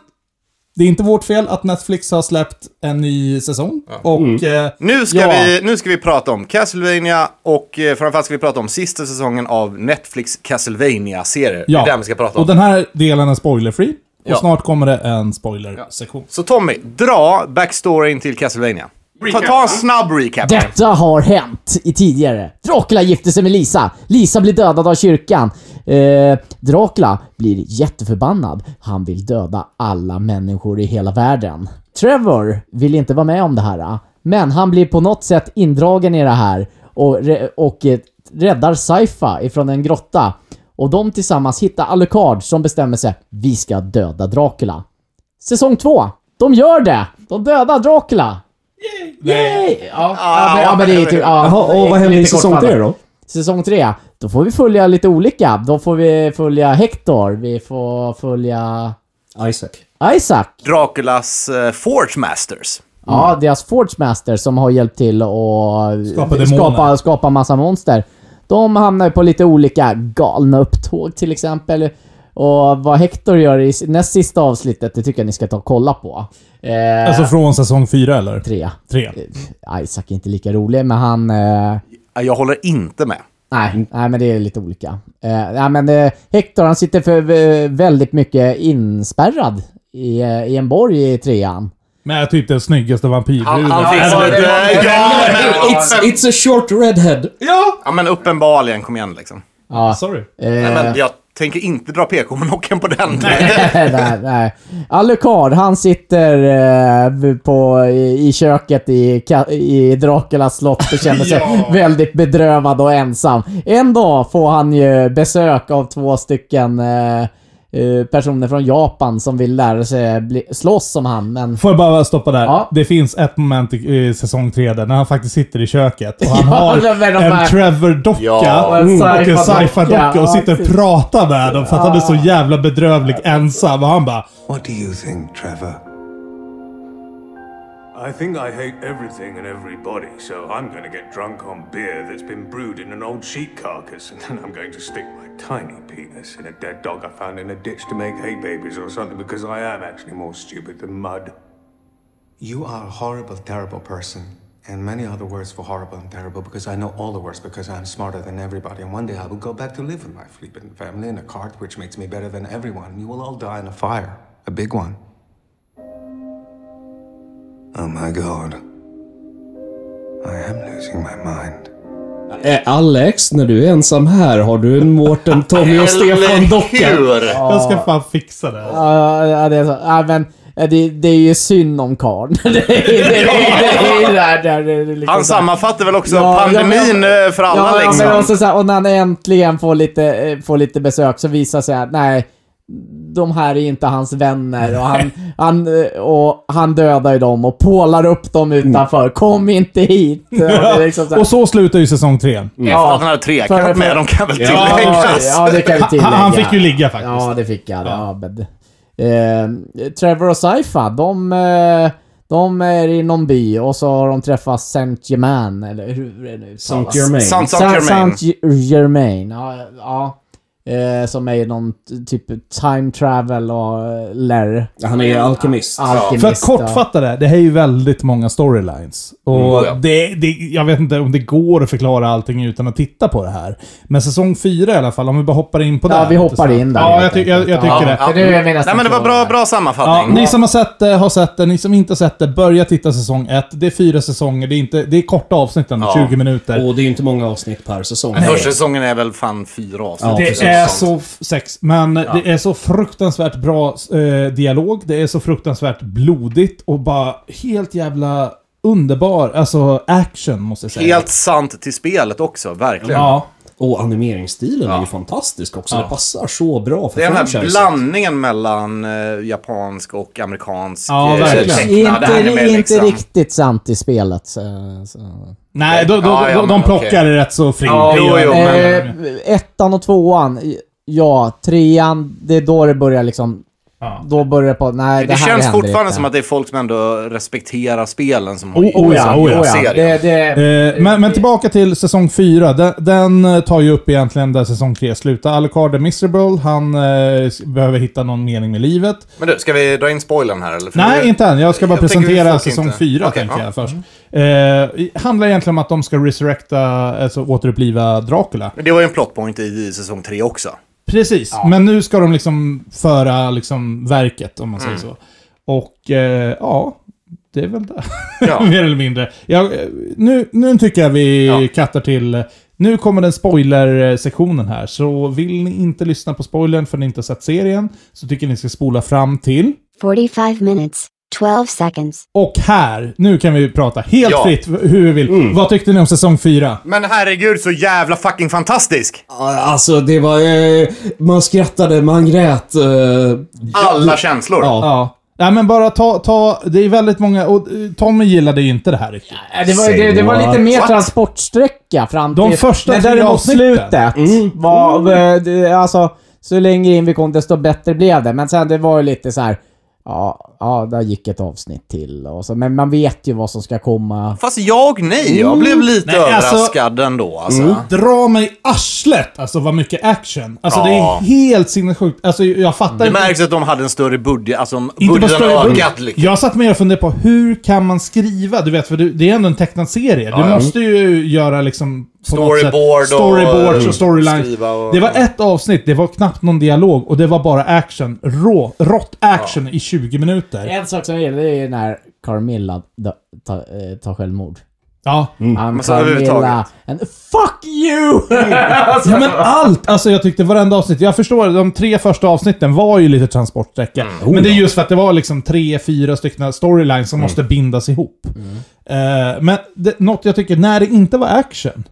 Det är inte vårt fel att Netflix har släppt en ny säsong. Och... Eh, Mm. Nu ska, Ja. vi, nu ska vi prata om Castlevania och eh, framförallt ska vi prata om sista säsongen av Netflix Castlevania-serier. ja. Det är den vi ska prata Och om. den här delen är spoilerfri. Och Ja. snart kommer det en spoilersektion. Så Tommy, dra backstoryn till Castlevania. Ta, ta en snabb recap. Detta har hänt i tidigare. Dracula gifter sig med Lisa. Lisa blir dödad av kyrkan. Eh, Dracula blir jätteförbannad. Han vill döda alla människor i hela världen. Trevor vill inte vara med om det här. eh. Men han blir på något sätt indragen i det här och, re- och eh, räddar Saifa ifrån en grotta. Och de tillsammans hittar Alucard som bestämmer sig, vi ska döda Dracula. Säsong 2. De gör det! De dödar Dracula! Yay! Ja, ja, men, ja, men det är ju typ... Ja, Jaha, och vad händer i lite säsong kortfattat. 3 då? Säsong 3, då får vi följa lite olika. Då får vi följa Hector, vi får följa Isaac. Isaac. Draculas eh, Forge Masters. Mm. Ja, deras Forge Master som har hjälpt till att Skapa demoner. skapa, skapa massa monster. De hamnar ju på lite olika galna upptåg till exempel. Och vad Hector gör i s- näst sista avsnittet, det tycker jag ni ska ta och kolla på. Eh, Alltså från säsong fyra eller? tre. Tre. Isaac är inte lika rolig, men han... Eh, Ja, Jag håller inte med. Nej, nej men det är lite olika. Eh, nej, men eh, Hector han sitter för eh, väldigt mycket inspärrad i, eh, i en borg i trean. Men jag tyckte den typ snyggaste vampyrbruden. Han- han fick- Även- Ja, det- Ja, men- it's, it's a short redhead. Ja! Ja, men uppenbarligen, kom igen liksom. Ja. Sorry. Nej, men jag tänker inte dra PK-monocken på den. nej, nej. Alucard, han sitter eh, på, i, i köket i, ka- i Draculas slott och känner sig Ja. väldigt bedrövad och ensam. En dag får han ju besök av två stycken eh, eh, personer från Japan som vill lära sig bli, slåss som han, men... Får jag bara stoppa där? Ja. Det finns ett moment i, i säsong 3 där när han faktiskt sitter i köket och han Ja, har men de här- en Trevor-docka Ja. Och en mm, och en sci-fi-docka. sci-fi-docka Ja, och sitter och precis. pratar med dem för att han är så jävla bedrövlig ensam. Och han bara What do you think, Trevor? I think I hate everything and everybody, so I'm going to get drunk on beer that's been brewed in an old sheep carcass, and then I'm going to stick my tiny penis in a dead dog I found in a ditch to make hay babies or something, because I am actually more stupid than mud. You are a horrible, terrible person. And many other words for horrible and terrible because I know all the words because I'm smarter than everybody. And one day I will go back to live with my flippin' family in a cart, which makes me better than everyone. You will all die in a fire. A big one. Oh my god. I am losing my mind. Eh, Alex, när du är ensam här, har du en Mårten, Tommy och Stefan-docka? hur? Jag ska fan fixa det. Ja, ja, det är så. Ja, men eh, det, det är ju synd om karln. det, är- det, är- det, är- det, är- det, är- det, är liksom Han så här. sammanfattar väl också Ja, pandemin ja, men- eh, för alla ja, liksom. Men alltså- också så här, och när han äntligen får lite, eh, får lite besök så visar sig att nej, de här är inte hans vänner och han, han, eh, och han dödar ju dem och pålar upp dem utanför. Kom inte hit! Och det är liksom så här, Och så slutar ju säsong 3. Efter att han hade trekat med dem kan väl Ja, ja, tilläggas. ja, det kan vi Han, tillägga. han fick ju ligga faktiskt. Ja, det fick han. Ja. men, eh, Trevor och Saifa, de, eh, de är i någon by och så har de träffat Saint Germain, eller hur det nu uttalas. Saint Germain. Sant som Saint, Germain. Saint Germain, ja. ja. Eh, som är någon t- typ time travel och eh, lär. Han är alkemist. Alkemist, För att ja. kortfatta det, det här är ju väldigt många storylines. Och Mm, ja. det, det, jag vet inte om det går att förklara allting utan att titta på det här. Men säsong 4 i alla fall, om vi bara hoppar in på det. Ja, här vi lite hoppar snabbt. in där. Ja, jag, helt ty- jag, jag enkelt. tycker Ja, det. ja. För nu är vi nästan Nej men det var klara. bra, bra Ja, sammanfattning. ni som har sett det har sett det. Ni som inte har sett det, börja titta säsong 1. Det är fyra säsonger. Det är, inte, det är korta avsnitt, ändå, Ja. 20 minuter. Och det är ju inte många avsnitt per säsong. Första säsongen är väl fan fyra avsnitt. Ja, eller Det precis. något är sånt. så f- sex, men det är så fruktansvärt bra eh, dialog. Det är så fruktansvärt blodigt och bara helt jävla underbar, alltså action måste jag säga. Helt sant till spelet också, verkligen. Ja. Och animeringsstilen är ju fantastisk också. Det passar så bra för Det är den här franchisen. blandningen mellan eh, japansk och amerikansk Ja, eh, verkligen. tecknad Inte, anime, inte liksom. riktigt sant i spelet. Så, så. Nej, då, då, Ja, ja, de, men de plockar okej. det rätt så fritt. Ja, Det jo, gör jo, de. men- Eh, ettan och tvåan, ja. Trean, det är då det börjar liksom... Ja. Då börjar det på... Nej, Det, det, här känns händer fortfarande inte. som att det är folk som ändå respekterar spelen som har Oh, oh ja, som oh gör ja. serien. Det, det, Eh, men, men tillbaka till säsong 4. Den, den eh, tar ju upp egentligen där säsong 3 slutar. Alucard är miserable, han eh, s- behöver hitta någon mening med livet. Men du, ska vi dra in spoilern här eller? För Nej, vi- inte än. Jag ska bara Jag tänker vi presentera folk säsong inte. 4, Okej, tänker ja. Mm. jag först. Eh, handlar egentligen om att de ska resurrecta, alltså återuppliva Dracula. Men Det var ju en plotpoint i, i säsong tre också. Precis, men nu ska de liksom föra liksom verket, om man säger Mm. så. Och eh, ja, det är väl det. Ja. Mer eller mindre. Jag, eh, nu, nu tycker jag vi Ja. kattar till... Nu kommer den spoiler-sektionen här, så vill ni inte lyssna på spoilern för ni inte har sett serien, så tycker jag ni ska spola fram till... 45 minutes, 12 seconds. Och här, nu kan vi prata helt Ja. Mm. fritt hur vi vill. Vad tyckte ni om säsong 4? Men herregud, så jävla fucking fantastisk! Alltså, det var... Eh, man skrattade, man grät. Eh, Alla känslor. ja. Ja. Nej men bara ta, ta, det är väldigt många, och eh, Tommy gillade ju inte det här riktigt. Eh, det, var, det, det var lite mer transportsträcka fram till... De första Men tre däremot avsnitten. slutet Mm. var... eh, det- Alltså, så längre in vi kom desto bättre blev det. Men sen det var ju lite så här... Ja, ja, där gick ett avsnitt till och så. Men man vet ju vad som ska komma. Fast jag nej, jag blev lite Nej, alltså- överraskad ändå alltså. Dra mig i arslet! Alltså vad mycket action. Alltså det Ja. är helt sinnessjukt. Alltså jag fattar Det märks att de hade en större budget, alltså om Inte bara budgeten större har budget. ökat liksom. Jag satt med och funderade på hur kan man skriva? Du vet, för du- det är ändå en tecknad serie. Du ja. måste ju göra liksom på något sätt. Storyboard och- Mm. Storyboards och storylines. skriva och- Det var ett avsnitt, det var knappt någon dialog och det var bara action. Rå, rått action i 20 minuter. En sak som jag gillar det är ju när Carmilla dö- ta- eh, tar självmord. Ja. Han Men så överhuvudtaget. and fuck you! Ja men allt! Alltså jag tyckte varenda avsnitt. Jag förstår, de tre första avsnitten var ju lite transportsträcka. Men det är just för att det var liksom tre, fyra stycken storylines som måste bindas ihop. Eh, men det, något jag tycker, när det inte var action,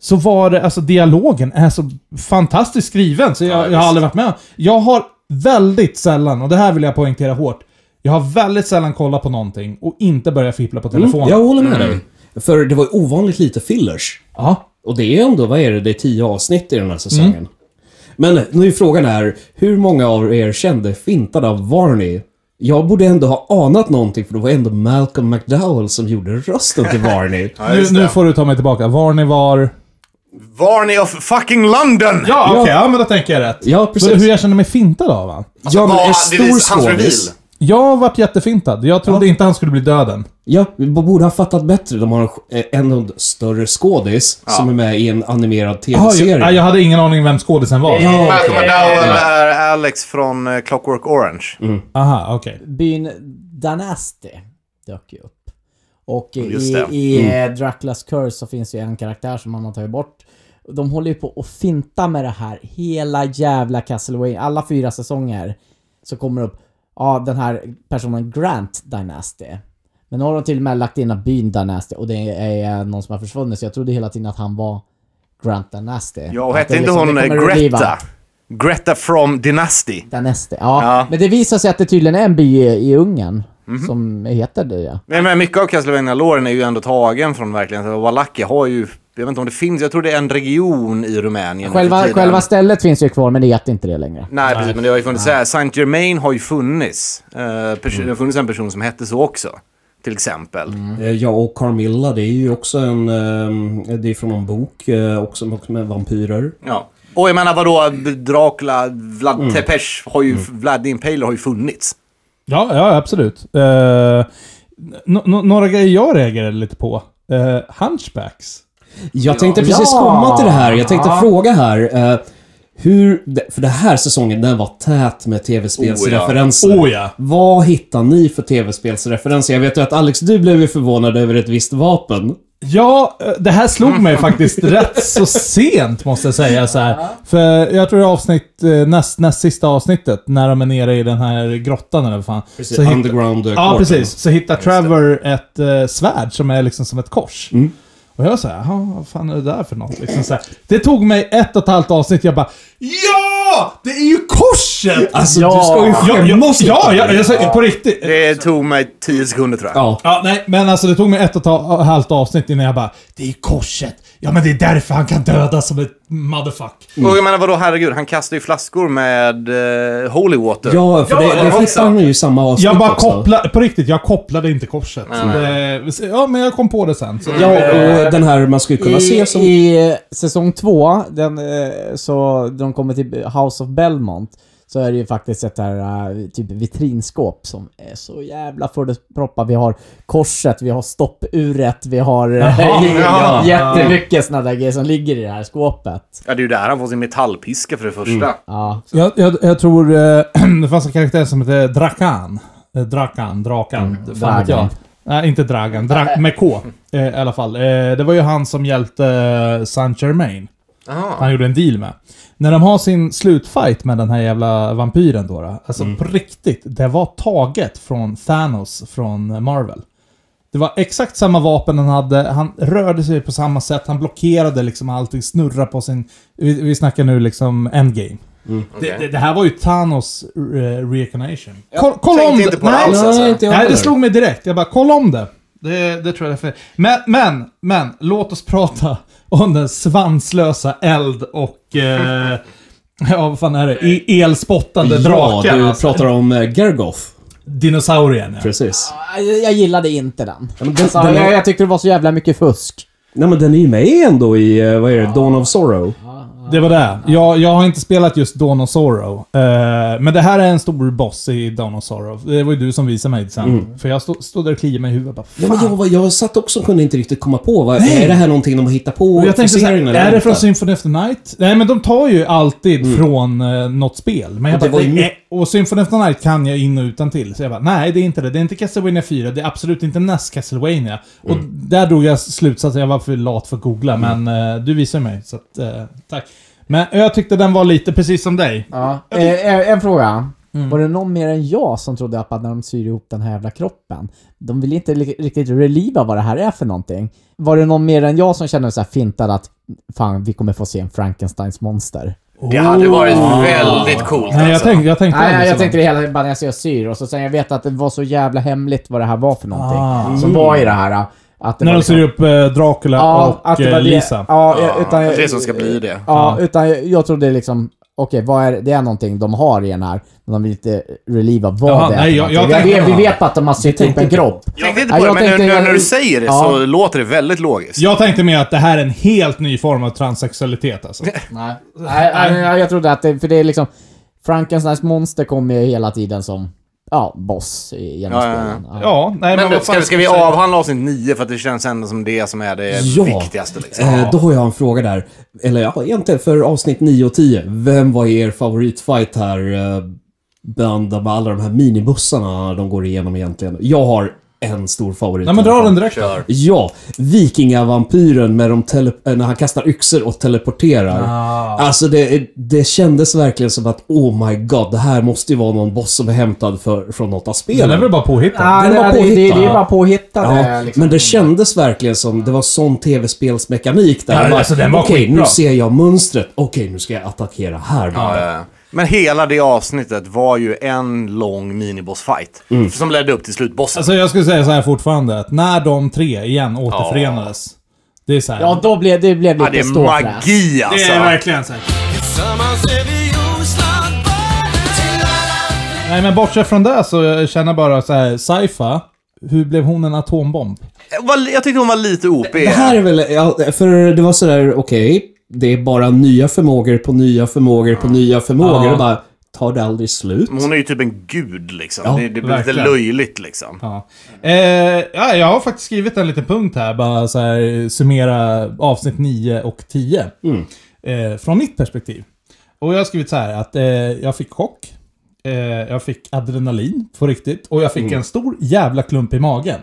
så var det, alltså dialogen är så fantastiskt skriven. Så jag, jag har aldrig varit med om. Jag har väldigt sällan, och det här vill jag poängtera hårt, jag har väldigt sällan kollat på någonting och inte börjat fippla på Mm, telefonen. jag håller med dig. För det var ju ovanligt lite fillers. Ja. Och det är ändå, vad är det, det är tio avsnitt i den här säsongen. Men nu är frågan är, hur många av er kände fintade av Varney? Jag borde ändå ha anat någonting för det var ändå Malcolm McDowell som gjorde rösten till Varney. Ja, nu, just nu det. får du ta mig tillbaka. Var ni var... Varney of fucking London! Ja, okej. ja, men då tänker jag rätt. Ja, Så precis. hur jag känner mig fintad av han? Ja, men Var- en det är stor Alltså, hans reveal. skådis. Jag vart jättefintad. Jag trodde inte han skulle bli döden. Ja, vi borde ha fattat bättre. De har en, en större skådis som är med i en animerad Ah, jag, TV-serie. nej, jag hade ingen aning vem skådisen var. Malcolm McDowell är Alex från eh, Clockwork Orange. Mm. Aha, okej. Byn Danasti dök ju upp. Och eh, Just i, det. i mm. Draculas Curse så finns ju en karaktär som man har tagit bort. De håller ju på och finta med det här hela jävla Castlevania. Alla fyra säsonger så kommer det upp, ja den här personen Grant Dynasty. Men nu har de till och med lagt in att byn Dynasty och det är någon som har försvunnit så jag trodde hela tiden att han var Grant Dynasty. Ja, och Att hette det inte liksom- hon det eh, kommer reliva. Greta? Greta from Dynasty. Daneste. Ja. Ja. men det visar sig att det tydligen är en by i, i Ungern som heter det. Ja. Nej, men mycket av castlevania låren är ju ändå tagen från verkligen. Wallachia har ju, jag vet inte om det finns, jag tror det är en region i Rumänien. nu Själva, för tiden. själva stället finns ju kvar, men det heter inte det längre. Nej, precis, men det har ju funnits så här. Saint Germain har ju funnits. Eh, pers- Det har funnits en person som hette så också. Till exempel. Eh, Ja, och Carmilla, det är ju också en... eh, Det är från en bok eh, också med- med vampyrer. Ja. Och jag menar vadå, Dracula, Vlad Tepes har ju, Vlad the Impaler har ju funnits. Ja, ja, absolut. Eh, n- n- några grejer jag reagerade lite på. Eh, hunchbacks. Jag tänkte precis Ja. komma till det här. Jag tänkte Ja. fråga här. eh, Hur... För den här säsongen, den var tät med tv-spelsreferenser. Oh, ja. Oh, ja. Vad hittar ni för tv-spelsreferenser? Jag vet ju att Alex, du blev ju förvånad över ett visst vapen. Ja, eh, det här slog mig faktiskt rätt så sent måste jag säga så här. För jag tror det är avsnitt, eh, näst, näst sista avsnittet, när de är nere i den här grottan eller vad fan. Precis, Så hitt- underground eh, Ja, quarter. precis. Så hittar Trevor ett eh, svärd som är liksom som ett kors. Mm. Och jag såhär, jaha, vad fan är det där för något? Liksom så här. Det tog mig ett och ett halvt avsnitt, jag bara JA! Det är ju korset! Alltså, Ja. du ska ju Ja, skämmas jag, lite. ja, jag, jag, jag, på riktigt. Det tog mig tio sekunder tror jag. Ja. Ja, nej, men alltså det tog mig ett och ett ha- halvt avsnitt innan jag bara Det är ju korset! Ja, men det är därför han kan döda som ett motherfuck. Och jag menar vadå, herregud, han kastar ju flaskor med eh, holy water. Alltså. Ja, för det, Ja, det också. fixar han ju i samma avsnitt Jag bara också. kopplade, på riktigt, jag kopplade inte korset. Det, ja, men jag kom på det sen. Så. Ja, och eh, den här man skulle kunna I, se som... I eh, säsong två, den, eh, så de kommer till House of Belmont, så är det ju faktiskt ett här eh, typ vitrinskåp som är så jävla fullproppat. Vi har korset, vi har stoppuret, vi har eh, jaha. jättemycket sådana där grejer som ligger i det här skåpet. Ja, det är ju där han får sin metallpiska för det första. Ja. Jag, jag, jag tror eh, det fanns en karaktär som hette Drakan. Eh, Drakan, Drakan. fan vet jag. Dragan. Nej, inte Dragan. Dra med K. Eh, I alla fall. Eh, det var ju han som hjälpte eh, Saint Germain. Han gjorde en deal med. När de har sin slutfight med den här jävla vampyren då. då alltså på riktigt. Det var taget från Thanos från Marvel. Det var exakt samma vapen han hade, han rörde sig på samma sätt, han blockerade liksom allting, snurra på sin... Vi, vi snackar nu liksom endgame. Mm, Det, det, det här var ju Thanos uh, reincarnation. Koll, kolla tänkte om inte det! på det alls, alltså. Nej, inte jag nej, det heller. slog mig direkt. Jag bara, kolla om det! Det, det tror jag därför. Men, men, men, låt oss prata om den svanslösa eld och... eh, ja, vad fan är det? E- elspottande Ja, draken. du alltså. pratar om eh, Gergoth. Dinosaurien, ja. Precis. Jag- Jag gillade inte den. men den- alltså, den är- jag, jag tyckte det var så jävla mycket fusk. Nej men den är ju med ändå i, eh, vad är det, Dawn of Sorrow. Det var det. Jag, jag har inte spelat just Dawn of Sorrow. Eh, men det här är en stor boss i Dawn of Sorrow. Det var ju du som visade mig sen. För jag stod, stod där och kliade mig i huvudet. Bara, Mm. Ja, men jag, var- jag satt också och kunde inte riktigt komma på. Vad, är det här någonting de har hittat på? Och jag tänkte för såhär, serien eller är det inte? Mm. från Symphony of the Night? Nej, men de tar ju alltid från eh, något spel. Men jag Och det bara, var ju "Nej." eh, mycket- och Symphony of the Night kan jag in och utan till. Så jag bara, nej det är inte det. Det är inte Castlevania 4, det är absolut inte näst Castlevania. Och Mm. där drog jag slutsatsen, jag var för lat för att googla, men eh, du visar mig. Så att, eh, tack. Men jag tyckte den var lite precis som dig. Ja. Eh, eh, en fråga. Var det någon mer än jag som trodde att när de syr ihop den här jävla kroppen, de vill inte li- riktigt reliva vad det här är för någonting. Var det någon mer än jag som kände så här fintad att fan, vi kommer få se en Frankensteins monster? Det hade varit väldigt coolt Nej, jag alltså. tänkte, jag tänkte liksom. Nej, aldrig jag, så jag långt. tänkte det hela bara när jag syr och så sen jag vet att det var så jävla hemligt vad det här var för någonting Ah. som var i det här. Att det När var liksom- de syr upp eh, Dracula ja, och att det var eh, det, Lisa. Ja, Ja, utan, att det som ska bli det. Ja, utan jag, jag trodde liksom, okej, vad är det? det är någonting de har i den här, men de vill inte reliva vad Jaha, det är. nej, för jag- jag någonting. tänkte- vet- vi, vet bara att de har sytt ihop en kropp. Jag tänkte inte Ja, på det, jag men nu, tänkte- nu när du säger det så Ja. låter det väldigt logiskt. Jag tänkte mer att det här är en helt ny form av transsexualitet alltså. Nej. Nej, nej, nej, jag trodde att det, för det är liksom, Frankensteins monster kommer ju hela tiden som, ja, boss i- genom Ja, ja, ja. spelen. Ja. Ja, nej men, Men vad fan ska, ska vi jag säga? avhandla avsnitt 9 för att det känns ändå som det som är det viktigaste liksom. Eh, då har jag en fråga där. Eller ja, egentligen för avsnitt 9 och 10. Vem var er favoritfight här? Eh, bland de- alla de här minibussarna de går igenom egentligen. Jag har en stor favorit. Nej men i alla dra fall. den direkt då. Ja, vikingavampyren med de tele- eh, när han kastar yxor och teleporterar. Ah. Alltså det, det kändes verkligen som att oh my god, det här måste ju vara någon boss som är hämtad för, från något av Den är spelen. väl bara påhittad? Ja, Den det, var det, det, det är ju påhittad. bara påhittade. Ja, liksom. men det kändes verkligen som det var sån tv-spelsmekanik där. Ja, Bara, alltså, den var Okej, skitbra." nu ser jag mönstret. Okej, nu ska jag attackera här. bara. Eh, Men hela det avsnittet var ju en lång minibossfight. Som ledde upp till slutbossen. Alltså jag skulle säga så här fortfarande, att när de tre igen återförenades. Det är så här. Ja, då blev det blev ja, det lite är ståfräs. magi alltså. verkligen så här. Nej men bortsett från det så jag känner bara så här, Saifa, hur blev hon en atombomb? Eh, var- Jag tyckte hon var lite OP. Det här är väl, ja, för det var sådär, okej, det är bara nya förmågor på nya förmågor på nya förmågor. Ja. Och bara, tar det aldrig slut? Men Hon är ju typ en gud liksom. Ja, det det blir lite verkligen. löjligt liksom. Ja. Eh, ja, jag har faktiskt skrivit en liten punkt här, bara så här, summera avsnitt 9 och 10. Eh, från mitt perspektiv. Och jag har skrivit så här att eh, jag fick chock, eh, jag fick adrenalin på riktigt och jag fick Mm. en stor jävla klump i magen.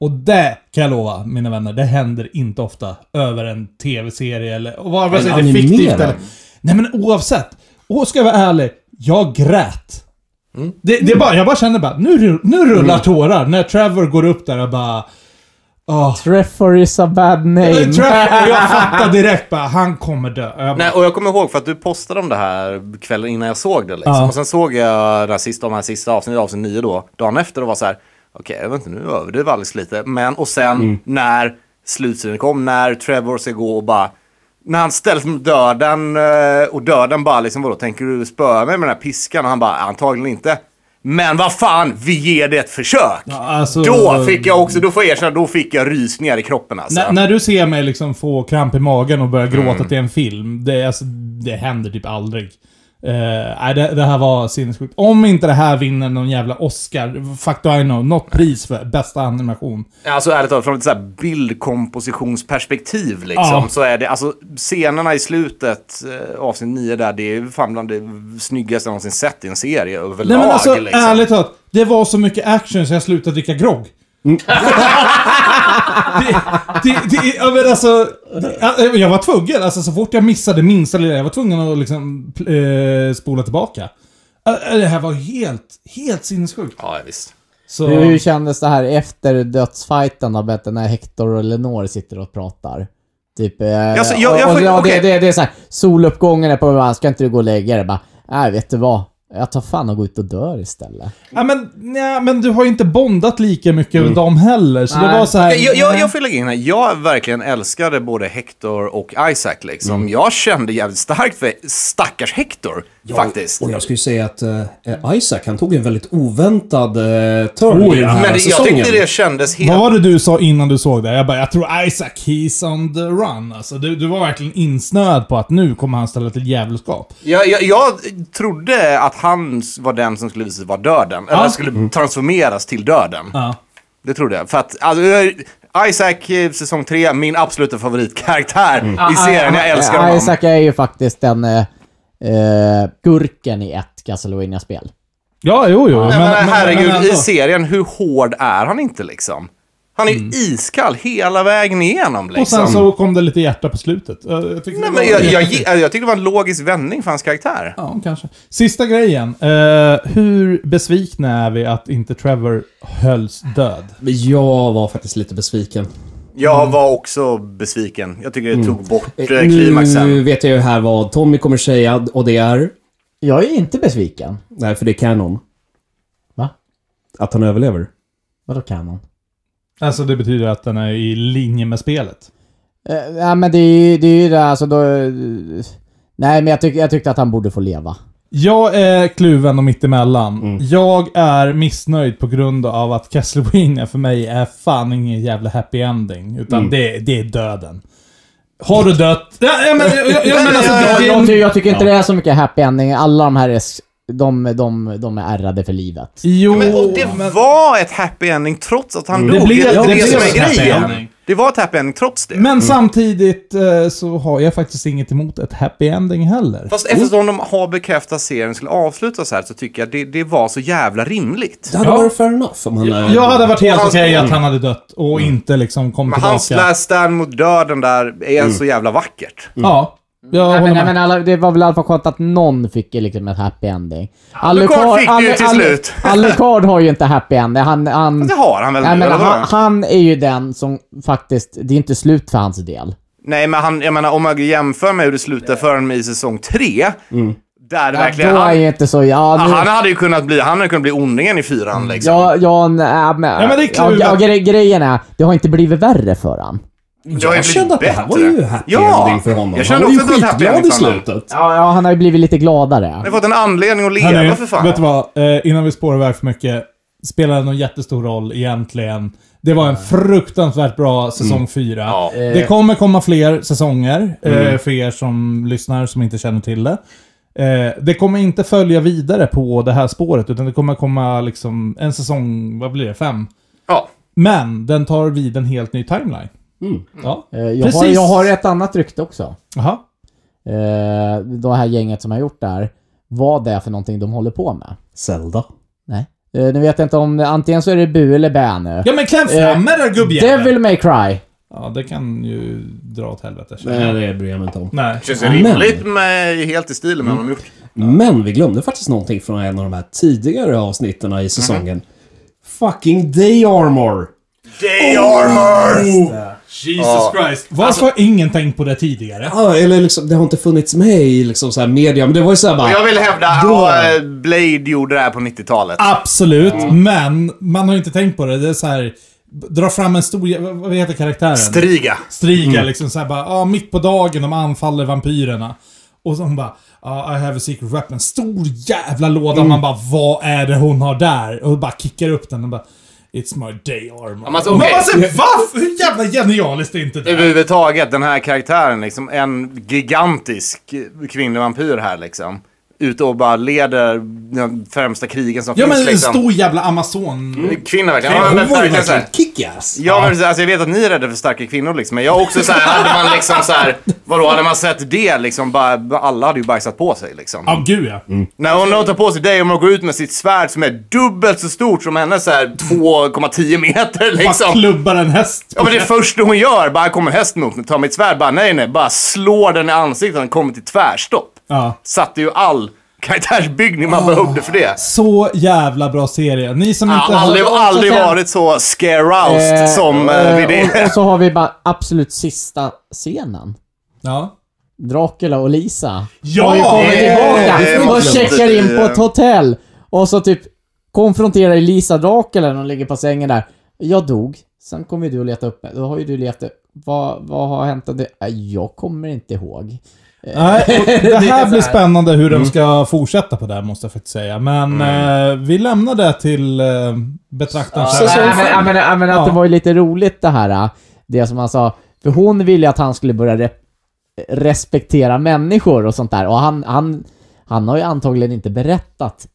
Och det kan jag lova, mina vänner, det händer inte ofta över en tv-serie eller och vad, vad En säger det, fiktivt animerad. eller... Nej men oavsett. Och ska jag vara ärlig, jag grät. Mm. Det, det är bara, jag bara känner bara, nu, rull- nu rullar tårar när Trevor går upp där och bara... Oh. Trevor is a bad name. Trevor, och jag fattar direkt bara, han kommer dö. Och jag bara, Nej, och jag kommer ihåg för att du postade om det här kvällen innan jag såg det. Liksom. Ja. Och sen såg jag den här sista, de här sista avsnittet, avsnitt 9 då, dagen efter och var så här, okej, jag vet inte, nu överdrev Alex lite. Men, och sen Mm. när slutscenen kom, när Trevor ska gå och bara, när han ställs mot döden eh, och döden bara liksom, vadå, tänker du spöa mig med den här piskan? Och han bara, antagligen inte. Men vad fan, vi ger det ett försök! Ja, alltså- då fick jag också, då får jag erkänna, då fick jag rysningar i kroppen alltså. När, när du ser mig liksom få kramp i magen och börja gråta till en film, det, är alltså, det händer typ aldrig. Eh, nej, det, det här var sinnessjukt. Om inte det här vinner någon jävla Oscar, fuck do I know, något pris för bästa animation. Ja, Alltså ärligt talat, från ett så här bildkompositionsperspektiv liksom, Ja. så är det, alltså scenerna i slutet, eh, avsnitt 9 där, det är fan bland det snyggaste jag någonsin sett i en serie överlag. Nej men alltså, liksom. ärligt talat. Det var så mycket action så jag slutade dricka grogg. det, det, det, ja, men alltså, det, jag var tvungen, alltså så fort jag missade minsta lilla, jag var tvungen att liksom eh, spola tillbaka. Eh, Det här var helt, helt sinnessjukt. Ja, visst. Så, Hur kändes det här efter dödsfighten då Bette, när Hector och Lenore sitter och pratar? Typ... eh, Alltså, jag- jag och, och, får- ja, okej. det, det, det är såhär, soluppgången är på väg, ska inte du gå och lägga dig? Bara, Nej, vet du vad? Jag tar fan och går ut och dör istället. ja, men, nej, men du har ju inte bondat lika mycket över dem heller, så det Nej. var så här. Jag, jag, jag får lägga in här, jag verkligen Mm. älskade både Hector och Isaac liksom. Jag kände jävligt starkt för stackars Hector. faktiskt. Och jag skulle säga att eh, Isaac, han tog en väldigt oväntad eh, turn Oh, i den ja. här Men det, jag säsongen. tyckte det kändes helt... Vad var det du sa innan du såg det? Jag bara, jag tror Isaac, he's on the run. Alltså, du, du var verkligen insnöad på att nu kommer han ställa till djävulskap. Jag, jag, jag trodde att han var den som skulle visa sig vara döden. Eller skulle transformeras till döden. Ja. Det trodde jag. För att, alltså, jag- Isaac eh, säsong 3, min absoluta favoritkaraktär Mm. Ah, i serien. Jag älskar honom. Eh, Isaac är ju faktiskt den eh, eh, gurken i ett Castlevania-spel. Ja, jo, jo. Nej, men, herregud, ändå. i serien, hur hård är han inte liksom? Han är ju iskall hela vägen igenom Mm. Och liksom. sen så kom det lite hjärta på slutet. Eh, Jag tyckte det Nej, men var- jag, jag, jag, tyckte det var en logisk vändning för hans karaktär. Ja, kanske. Sista grejen. Eh, hur besvikna är vi att inte Trevor hölls död? Jag var faktiskt lite besviken. Jag var också besviken. Jag Mm. tycker det tog bort eh, Nu klimaxen. vet jag ju här vad Tommy kommer säga och det är... Jag är inte besviken. Nej, för det är kanon. Va? Att han överlever. Vadå kanon? Alltså det betyder att den är i linje med spelet. Eh, ja, men det är ju det, är ju det alltså då... eh, nej, men jag, tyck, jag tyckte att han borde få leva. Jag är kluven och mittemellan. Mm. Jag är missnöjd på grund av att Castlevania för mig är fan ingen jävla happy ending. Utan Mm. det, det är döden. Har du dött? Ja, ja, men, jag, jag, jag, men alltså, Jag, det, jag, det, ty- jag tycker inte det är så mycket happy ending. Alla de här är... s- De, de, de är ärrade för livet. jo, Men, och det var ett happy ending trots att han dog. Det, blev- är Mm. det det, blev som ett är happy grejen. ending. Det var ett happy ending trots det. Mm. men samtidigt eh, så har jag faktiskt inget emot ett happy ending heller. Fast Mm. eftersom de har bekräftat serien skulle avslutas här så tycker jag det, det var så jävla rimligt. Det hade Ja. varit fair enough om han... eh, Jag hade varit helt Han- okej att han hade dött och Mm. inte liksom kom Men hans tillbaka. last stand mot döden där är Mm. så jävla vackert. Ja, jag Nej, håller men, med. nej, men alla, det var väl i alla fall skönt att någon fick ju liksom ett happy ending. Alucard fick det ju till Alu- slut. Alucard har ju inte happy ending. Han, han, Det har han väl nej, nu, men eller han, vadå? han är ju den som faktiskt, det är inte slut för hans del. Nej, men han, jag menar, om man jämför med hur det slutar för honom i säsong 3. Mm. Där det Ja, verkligen... då är Han, ju inte så, ja nu... han hade ju kunnat bli, han hade kunnat bli ondingen i Mm. fyran liksom. Ja, ja, nej, men, Ja, men det är ja, kluvet. ja, gre- grejen är, det har inte blivit värre för han. jag Jag kände att det här var ju happy ending för honom. Jag kände han var också att det ju var ett happy skitglad i ending för honom. slutet. Ja, ja, han har ju blivit lite Han gladare. har fått en anledning att leva Hörni, för fan. Vet du vad? Eh, innan vi spårar iväg för mycket. Spelar det någon jättestor roll egentligen? Det var en fruktansvärt bra säsong 4. Mm. Ja. Mm. Det kommer komma fler säsonger eh, för er som lyssnar som inte känner till det. Eh, det kommer inte följa vidare på det här spåret utan det kommer komma liksom en säsong, vad blir det, fem? Ja. Men den tar vid en helt ny timeline. Ja. Eh, Jag har, Precis. jag har ett annat rykte också. Jaha. Eh, Det här gänget som har gjort det här. Vad det är för någonting de håller på med. Zelda. Nej. Eh, nu vet jag inte om... Antingen så är det bu eller bä nu. Ja men kläm fram med det gubbjävel! Devil May Cry. Ja, det kan ju dra åt helvete. känner jag. Nej, det bryr jag mig inte om. Nej. Känns det rimligt med, helt i stil med Mm. vad de gjort. Men vi glömde faktiskt någonting från en av de här tidigare avsnitten i säsongen. Mhm. Fucking Day Armor! Day armor! Jesus Christ. Alltså- Varför har ingen tänkt på det tidigare? Ja, eller liksom, det har inte funnits med i liksom så här media, men det var ju såhär bara... Jag vill hävda Då- att eh, Blade gjorde det här på 90-talet. Absolut, men man har ju inte tänkt på det. Det är så här... Dra fram en stor... jä- Vad heter karaktären? Striga. Striga Mm. liksom så här bara, ah, mitt på dagen de anfaller vampyrerna. Och så hon bara, ah, I have a secret weapon. Stor jävla låda. Mm. Man bara, vad är det hon har där? Och bara kickar upp den och bara, It's my day armor. men alltså, Och okej. Man bara, så här, va? Hur jävla genialiskt är inte det? Överhuvudtaget, den här karaktären liksom. En gigantisk kvinnlig vampyr här liksom. Ute och bara leder den främsta krigen som Ja finns men en liksom. Mm. stor jävla amazon... Kvinna verkligen. Ja, Hon men Hon var ju verkligen så verkligen här. kick-ass! Ja, men alltså, jag vet att ni är rädda för starka kvinnor liksom, men jag också så här, hade man liksom så här, vadå, hade man sett det liksom, bara, alla hade ju bajsat på sig liksom. Ja, gud ja. När hon tar på sig det och man går ut med sitt svärd som är dubbelt så stort som hennes så här 2,10 meter Bara liksom. klubbar en häst. Ja men det första hon gör, bara kommer hästen mot mig, tar mitt svärd, bara nej nej, bara slår den i ansiktet och den kommer till tvärstopp. Ja. Satte ju all karaktärsbyggning man behövde för det. Så jävla bra serie. Ni som inte Jag har aldrig, har... aldrig sen- varit så scare-roused Eh, som eh, vid eh, och, det. och så har vi bara absolut sista scenen. Ja. Dracula och Lisa. Ja! Har ju kommit Eh, det får tillbaka man och glömma. checkar in på Eh. ett hotell. Och så typ konfronterar Lisa Dracula när hon ligger på sängen där. Jag dog. Sen kommer ju du att leta upp mig. Då har ju du letat... Vad, vad har hänt? om det? Nej, Jag kommer inte ihåg. Nej, och det är här så blir här. spännande hur Mm. de ska fortsätta på det här, måste jag faktiskt säga. Men eh, vi lämnar det till eh, betraktaren Ja, själv. Säsong Nej, fem. men, ja, men, ja, men att Alltså, Ja. det var ju lite roligt det här. äh, Det som han sa. För hon ville att han skulle börja rep- respektera människor och sånt där. Och han, han, han har ju antagligen inte berättat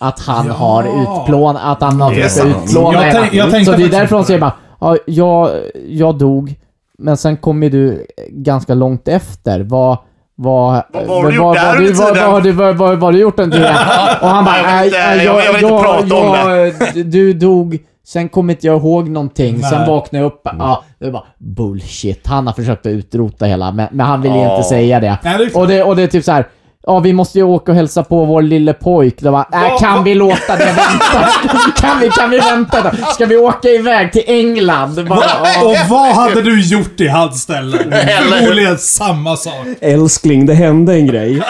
att han Ja. har utplånat, att han har Det är sant. försökt utplåna Jag henne. tänk- jag tänkte Så det är faktiskt- därför hon säger bara, ja, jag, jag dog, men sen kom ju du ganska långt efter. Vad, vad, Vad- vad har du gjort där vad- under vad, tiden? vad, har du- vad, vad, vad har du gjort under tiden? Och han bara, Jag vill inte- "Nej, nej, jag- jag vill inte prata om det." d- Eh, Du dog, sen kommer inte jag ihåg någonting, sen Nej. Mm. vaknade jag upp. Ja, det var bara bullshit. Han har försökt att utrota hela, men, men han vill ju inte säga det. Nej, det är klart. och, det och det är typ så här. Ja, vi måste ju åka och hälsa på vår lille pojk. Då bara, äh, kan vi låta det vänta? kan, vi, kan vi vänta då? Ska vi åka iväg till England? Bara, ja. Och vad hade du gjort i hans ställe? Förmodligen samma sak. Älskling, det hände en grej.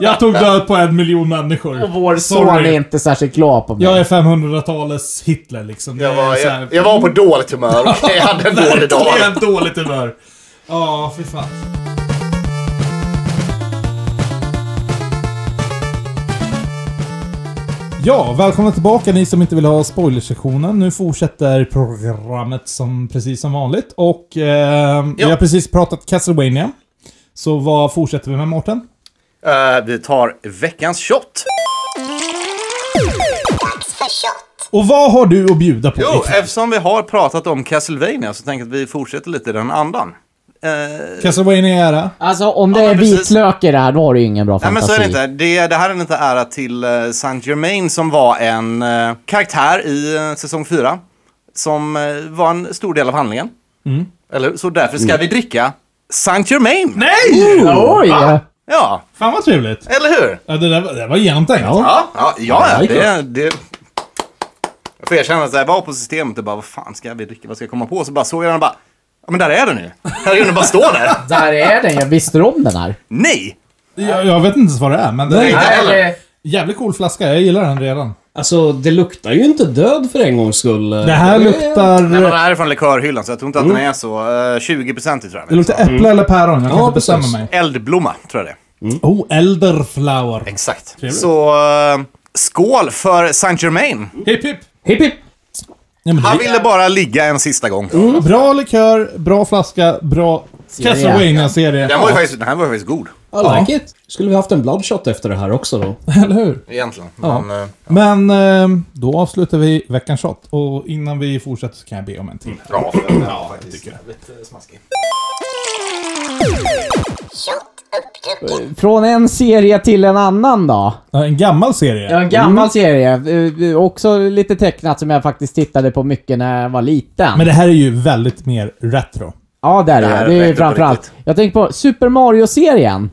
Jag tog död på en miljon människor. Och vår son är inte särskilt glad på mig. Jag är 500-talets Hitler liksom. Det Jag var, är så jag, här- jag var på dåligt humör. Okej, jag hade en dålig dag. Det är en dåligt humör. Ja, fy fan. Ja, välkomna tillbaka ni som inte vill ha spoilersektionen. Nu fortsätter programmet som precis som vanligt. Och eh, vi har precis pratat Castlevania. Så vad fortsätter vi med Mårten? Eh, vi tar veckans shot. Och vad har du att bjuda på? Jo, eh, ikväll? eftersom vi har pratat om Castlevania så tänker jag att vi fortsätter lite i den andan. Eh, Castlevania är ära. Alltså om det Ja, är men precis. vitlök i det här, då har du ju ingen bra Nej men fantasi. så är det inte. Det, det här är en liten ära till eh, Saint Germain som var en eh, karaktär i eh, säsong 4. Som eh, var en stor del av handlingen. Eller hur? Så därför ska vi dricka Saint Germain. Nej! Oj! Ja, Fan vad trevligt. eller hur? Ja, det, där, var- det där var genomtänkt. Ja, ja, ja, ja det, det... Jag får erkänna att jag var på systemet och bara, vad fan ska vi dricka? Vad ska jag komma på? Så bara såg jag den och bara, ja men där är den ju. Här är den bara står där. Där är den jag visste du om den här? Nej! Jag, jag vet inte ens vad det är, men det Inte är heller. jävligt cool flaska. Jag gillar den redan. Alltså, det luktar ju inte död för en gångs skull. Det här luktar... Nej, men den här är från likörhyllan så jag tror inte att den är så. Eh, 20% tror jag Det den är. luktar äpple eller päron. Jag kan Ja, inte bestämma precis. mig. Eldblomma tror jag det är. Oh, elderflower. Exakt. Så eh, skål för Saint Germain. Hipp hipp. Hipp, hipp. Ja, men Han det ville bara ligga en sista gång. är... Bra likör, bra flaska, bra... Castlevania-serie. Den, var ju faktiskt, den här var ju faktiskt god, I like it. Skulle vi haft en bloodshot efter det här också då? Eller hur? egentligen. Men, eh, Men eh, då avslutar vi veckans shot. Och innan vi fortsätter så kan jag be om en till. Mm, bra. Ja, jag tycker det. Från en serie till en annan då. Mm. Ja, En gammal serie. Ja, En gammal serie. eh, Också lite tecknat som jag faktiskt tittade på mycket när jag var liten. Men det här är ju väldigt mer retro. ja, där Det är här det. Det är räcker ju på framförallt. riktigt. Jag tänker på Super Mario-serien.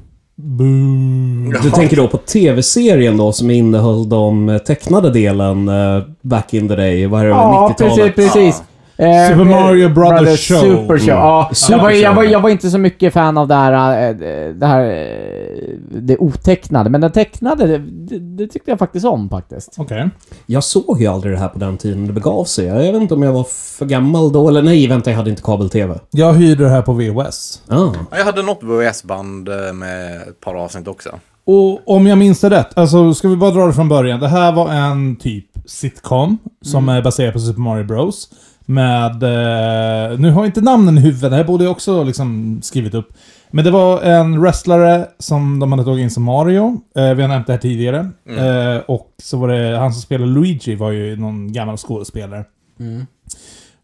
Du tänker då på TV-serien då som innehöll de eh, tecknade delen eh, back in the day, vad är det, Ja, 90-talet? precis, precis. Eh, Super Mario eh, Brothers Show. Mm. Super Show. Ja, Super jag, var, jag, var, Show. jag var inte så mycket fan av det här, eh, det, här eh, det otecknade, men den tecknade, det, det, det tyckte jag faktiskt om faktiskt. Okej. Jag såg ju aldrig det här på den tiden det begav sig. Jag vet inte om jag var för gammal då, eller nej vänta, jag hade inte kabel-TV. Jag hyrde det här på VHS. Ah. Ja, Jag hade något VHS-band eh, med ett par avsnitt också. Och om jag minns det rätt, alltså ska vi bara dra det från början. Det här var en typ sitcom som är baserad på Super Mario Bros. Med... Eh, nu har jag inte namnen i huvudet, det här borde jag också liksom skrivit upp. Men det var en wrestlare som de hade tagit in som Mario. Eh, vi har nämnt det här tidigare. Eh, och så var det han som spelade Luigi var ju någon gammal skådespelare.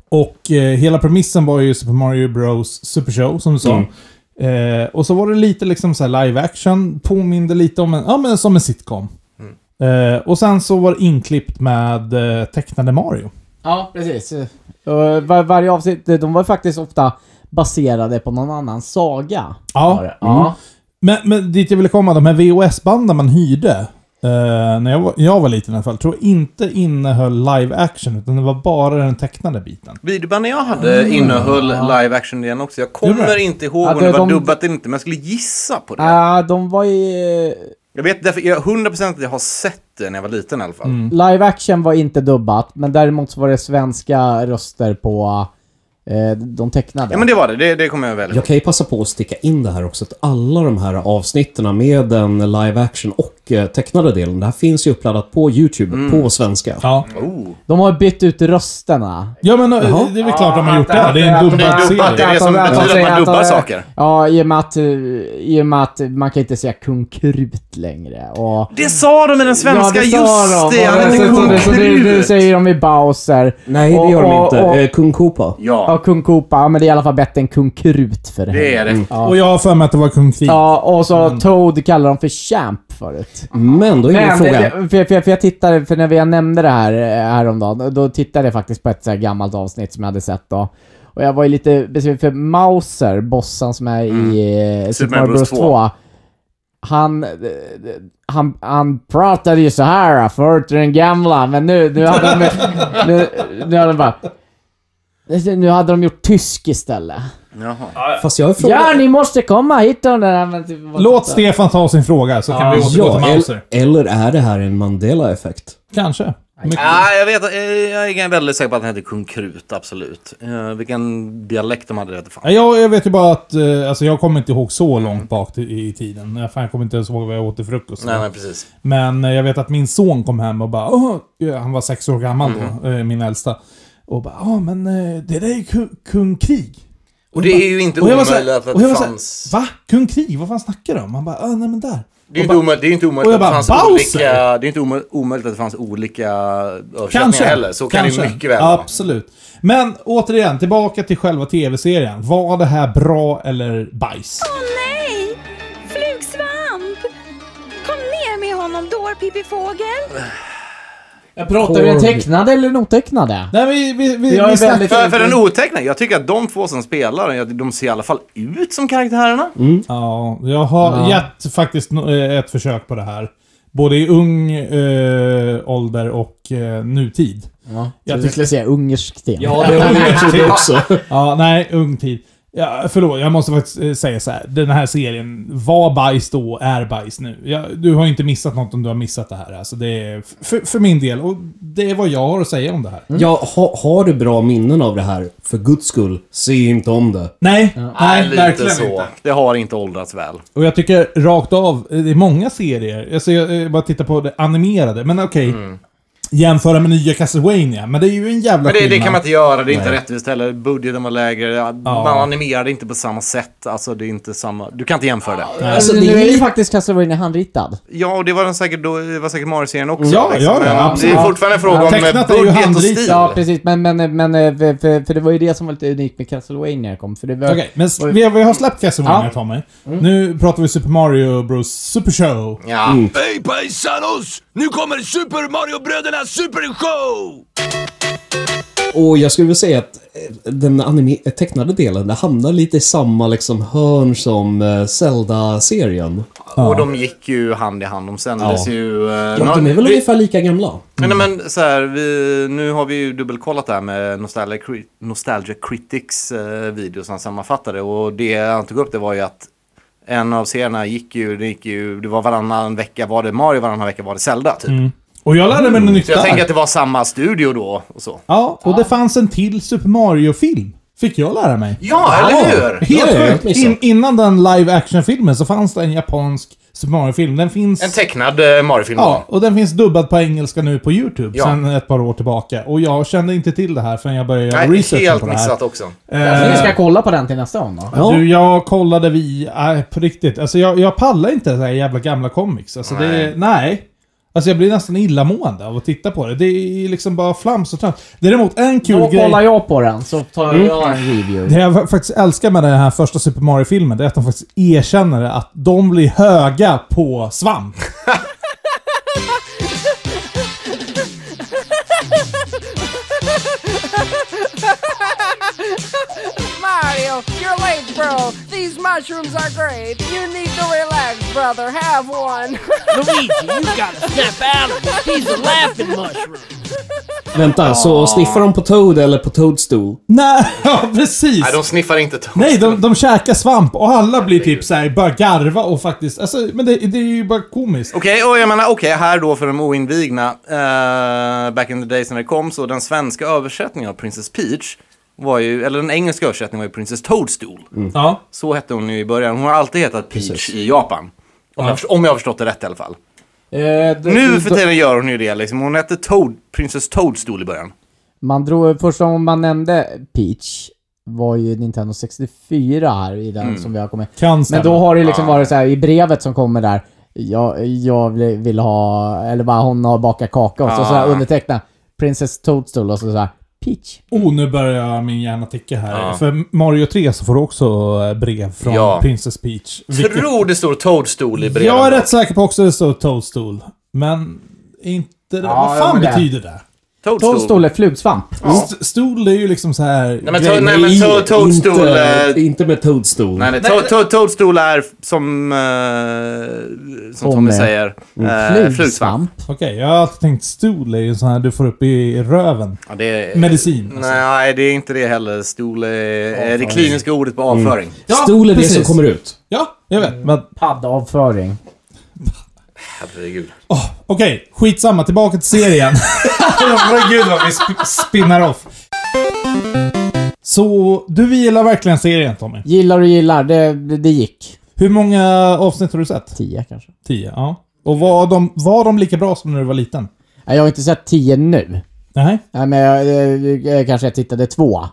Och eh, hela premissen var ju Super Mario Bros Super Show, som du sa. Eh, och så var det lite liksom så här live action, påminde lite om en, ja men som en sitcom. Eh, och sen så var det inklippt med eh, tecknade Mario. Ja, precis. Och var, varje avsnitt, de var faktiskt ofta baserade på någon annan saga. Mm. Ja. Var det. ja. Men, men dit jag ville komma, de här VHS-banden man hyrde, eh, när jag var, jag var liten i alla fall, tror jag inte innehöll live action, utan det var bara den tecknade biten. Videobandet jag hade innehöll live action igen också. Jag Gjorde kommer det? inte ihåg Ja, om det- Mm. det var de- dubbat eller inte, men jag skulle gissa på det. Ah, de var ju... Jag vet därför, jag 100% att jag har sett det när jag var liten i alla fall. Live action var inte dubbat, men däremot så var det svenska röster på eh, de tecknade. Ja men det var det, det, det kommer jag väl ihåg. Jag kan ju passa på att sticka in det här också, att alla de här avsnitten med den live action och eh, tecknade delen, det här finns ju uppladdat på YouTube Mm. på svenska. Ja. Oh. De har bytt ut rösterna. ja, men eh, det är väl klart de har gjort det. Det är en Det dubbad är dubbat, det är serie. det som Att de- betyder att att man de- dubbar saker. Alltså, Ja, i och med att, eh, i och med att man kan inte säga kung krut längre. Och, Det sa de i den svenska, sa just det! Han heter Och så- Kung så- så det- det Krut. säger de i Bowser. Nej, det gör de Och- inte. och- och- Eh, Kung Koopa. Ja, Ja, kung Koopa. Ja, men det är i alla fall bättre än kung krut för det är det. Och jag har för mig att det var Kung Krig. Ja, och så Toad kallar de för Champ förut. Men då är ju Men, frågan... det- för, för, för jag tittade, för när jag nämnde det här eh, häromdagen, då tittade jag faktiskt på ett så här gammalt avsnitt som jag hade sett då. Och jag var ju lite besviken för Mauser, bossen som är i eh, Super Mario Bros 2, han, eh, han, han pratade ju så här eh, förut, den gamla, men nu, nu hade de, nu, nu hade de bara... Nu hade de gjort tysk istället. Fast jag har frågat... Ja, ni måste komma hit och... Nej, men typ- Låt Stefan ta sin fråga så kan vi återgå till Ja, Mauser. eller, eller är det här en Mandela-effekt? Kanske. Mycket. Ja, jag vet eh, Jag är väldigt säker på att han heter Kung Krut, absolut. Eh, vilken dialekt de hade, det vete fan. Ja, Jag, jag vet ju bara att, eh, alltså jag kommer inte ihåg så långt bak i, i tiden. Jag fan, jag kommer inte ens ihåg vad jag åt till frukost. Nej, nej, precis. Men eh, jag vet att min son kom hem och bara Åh, ja, han var sex år gammal då, Mm. eh, min äldsta. Och bara ja men eh, det där är ju kung, kung Krig. Och det är ju inte Och jag var omöjligt så här- att och jag det var så här, fanns... Va? Kung Krig? Vad fan snackar du om? Han bara, "Ah, nej men där. Det är ju Och inte bara- omöjligt, det är ju inte och omöjligt jag att det bara, fanns Bowser! olika... Det är ju inte omö- omöjligt att det fanns olika översättningar heller. Så kan det ju mycket väl vara. Absolut. Men återigen, tillbaka till själva tv-serien. Var det här bra eller bajs? Nej! Flugsvamp! Kom ner med honom då, Pippi Fågel! Jag pratar vi den tecknade eller den otecknade? Nej vi, vi, vi, Jag är vi snackar- väldigt- För, för den otecknade, jag tycker att de två som spelar, jag- de ser i alla fall ut som karaktärerna. Mm. Ja, jag har gett faktiskt no- eh, ett försök på det här. Både i ung eh, ålder och eh, nutid. Ja, Jag jag tyck- du skulle säga ungersk te. det har jag trodde också. Ja, nej, ung tid. Ja, förlåt, jag måste faktiskt eh, säga så här. Den här serien var bajs då, är bajs nu. Jag, du har ju inte missat något om du har missat det här. Alltså det är, f- för, för min del, och det är vad jag har att säga om det här. Ja, ha, har du bra minnen av det här, för guds skull, se inte om det. Nej, nej, lite verkligen så. inte. Det har inte åldrats väl. Och jag tycker rakt av, eh, det är många serier. Alltså jag eh, bara tittar på det animerade, men okej. Jämföra med nya Castlevania, men det är ju en jävla Mm. Men det, det skillnad. kan man inte göra, det är inte rättvist heller. Budgeten var lägre, ja, man animerade inte på samma sätt. Alltså det är inte samma, du kan inte jämföra det. Alltså, det nu är är ju lite- faktiskt Castlevania handritad. Ja, och det var den säkert, då, det var säkert Mario-serien också. liksom. Ja, ja, Men ja, absolut. Det är fortfarande en fråga Ja, om tecknat eh, är ju budget och handritat. stil. Ja, precis. Men, men, men eh, för, för, för det var ju det som var lite unikt med Castlevania kom. För det var... Okej, men s- vi, har- vi har släppt Castlevania Tommy. Mm. Nu pratar vi Super Mario Bros Super Show. Ja. Hej paisanos! Nu kommer Super Mario-brödernas supershow! Och jag skulle vilja säga att eh, den anime- eh, tecknade delen, det hamnar lite i samma liksom hörn som eh, Zelda-serien. Och de gick ju hand i hand. De sändes ju... eh, Ja, nå- de är väl vi- ungefär lika gamla? Nej, Mm. nej, men så här, vi, nu har vi ju dubbelkollat det här med Nostalgia, Cri- Nostalgia Critics eh, video som han sammanfattade och det han tog upp det var ju att en av serierna gick ju, det gick ju, det var varannan vecka var det Mario, varannan vecka var det Zelda typ. Mm. Och jag lärde mig något nytt Mm. Så jag tänker där. att det var samma studio då och så. Ja, och det fanns en till Super Mario-film. Fick jag lära mig. Ja, eller hur? Ja, ja, jag Helt har sjukt! missat. In, innan den live action-filmen så fanns det en japansk Super Mario-film. Den finns... En tecknad eh, Mario-film. Ja, och den finns dubbad på engelska nu på YouTube Ja. sen ett par år tillbaka. Och jag kände inte till det här förrän jag började göra Nej, researchen helt på det här. missat också. Så vi ska kolla på den till nästa gång då. Ja. Du, jag kollade vi... Nej, på riktigt. Alltså jag, jag pallar inte så här jävla gamla comics. Alltså nej. det... Nej. Alltså jag blir nästan illamående av att titta på det. Det är liksom bara flams och trams. Däremot en kul Då grej... kollar jag på den, så tar jag en review. Det jag faktiskt älskar med den här första Super Mario-filmen, det är att de faktiskt erkänner det, att de blir höga på svamp. Mario, you're late, bro. These mushrooms are great. You need to relax, brother. Have one. Luigi, you gotta snap out of this! He's a laughing mushroom! Vänta, så sniffar de på Toad eller på Toadstool? Nej, ja precis! Nej, de sniffar inte tåg. Nej, de, de käkar svamp och alla blir typ såhär, börjar garva och faktiskt... Alltså, men det, det är ju bara komiskt. Okej, och jag menar, okej, här då för de oinvigna, eh, back in the days när det kom, så den svenska översättningen av Princess Peach var ju, eller den engelska översättningen var ju Princess Toadstool. Ja. Så hette hon ju i början. Hon har alltid hetat Peach Precis. i Japan. Om, jag, först- om jag har förstått det rätt i alla fall. Eh, d- Nu för d- tiden gör hon ju det liksom. Hon hette Toad, Princess Toadstool i början. Man drog, första gången man nämnde Peach var ju Nintendo 64 här i den som vi har kommit. Kan Men stämma. då har det liksom varit så här i brevet som kommer där. Jag, jag vill, vill ha, eller bara hon har bakat kaka och så, Ah. så här underteckna Princess Toadstool och så, så här Peach. Oh, nu börjar min hjärna ticka här. För Mario 3 så får du också eh, brev från Ja. Princess Peach. vilket- Tror det står Toadstool i brevet. Jag är rätt säker på också att det står Toadstool. Men inte... det. Ja, vad fan men det- betyder det? Toadstool är flugsvamp. St- Stol är ju liksom så här... Nej men, to- Nej, nej, men to- Toadstool... eh, Inte, inte med Toadstool. Nej, nej, to- to- Toadstool är som, eh, som Tommy Tommy. säger, eh, flugsvamp. Flugsvamp. Okej, jag har alltid tänkt stol är ju sån här du får upp i röven. Ja, det är, Medicin. alltså. Nej, det är inte det heller. Stol är, är det kliniska ordet på avföring. Ja, Stol är det precis. som kommer ut. Ja, jag vet. Men Paddavföring. Herregud. Åh, Okej, skitsamma. Tillbaka till serien. Men Gud vad vi sp- spinnar off. Så du gillar verkligen serien Tommy. Gillar och gillar, det, det, det gick. Hur många avsnitt har du sett? Tio kanske. Tio, ja. Och var de, var de lika bra som när du var liten? Nej, Jag har inte sett tio nu. Nej. Nej, men jag, jag, jag kanske tittade två.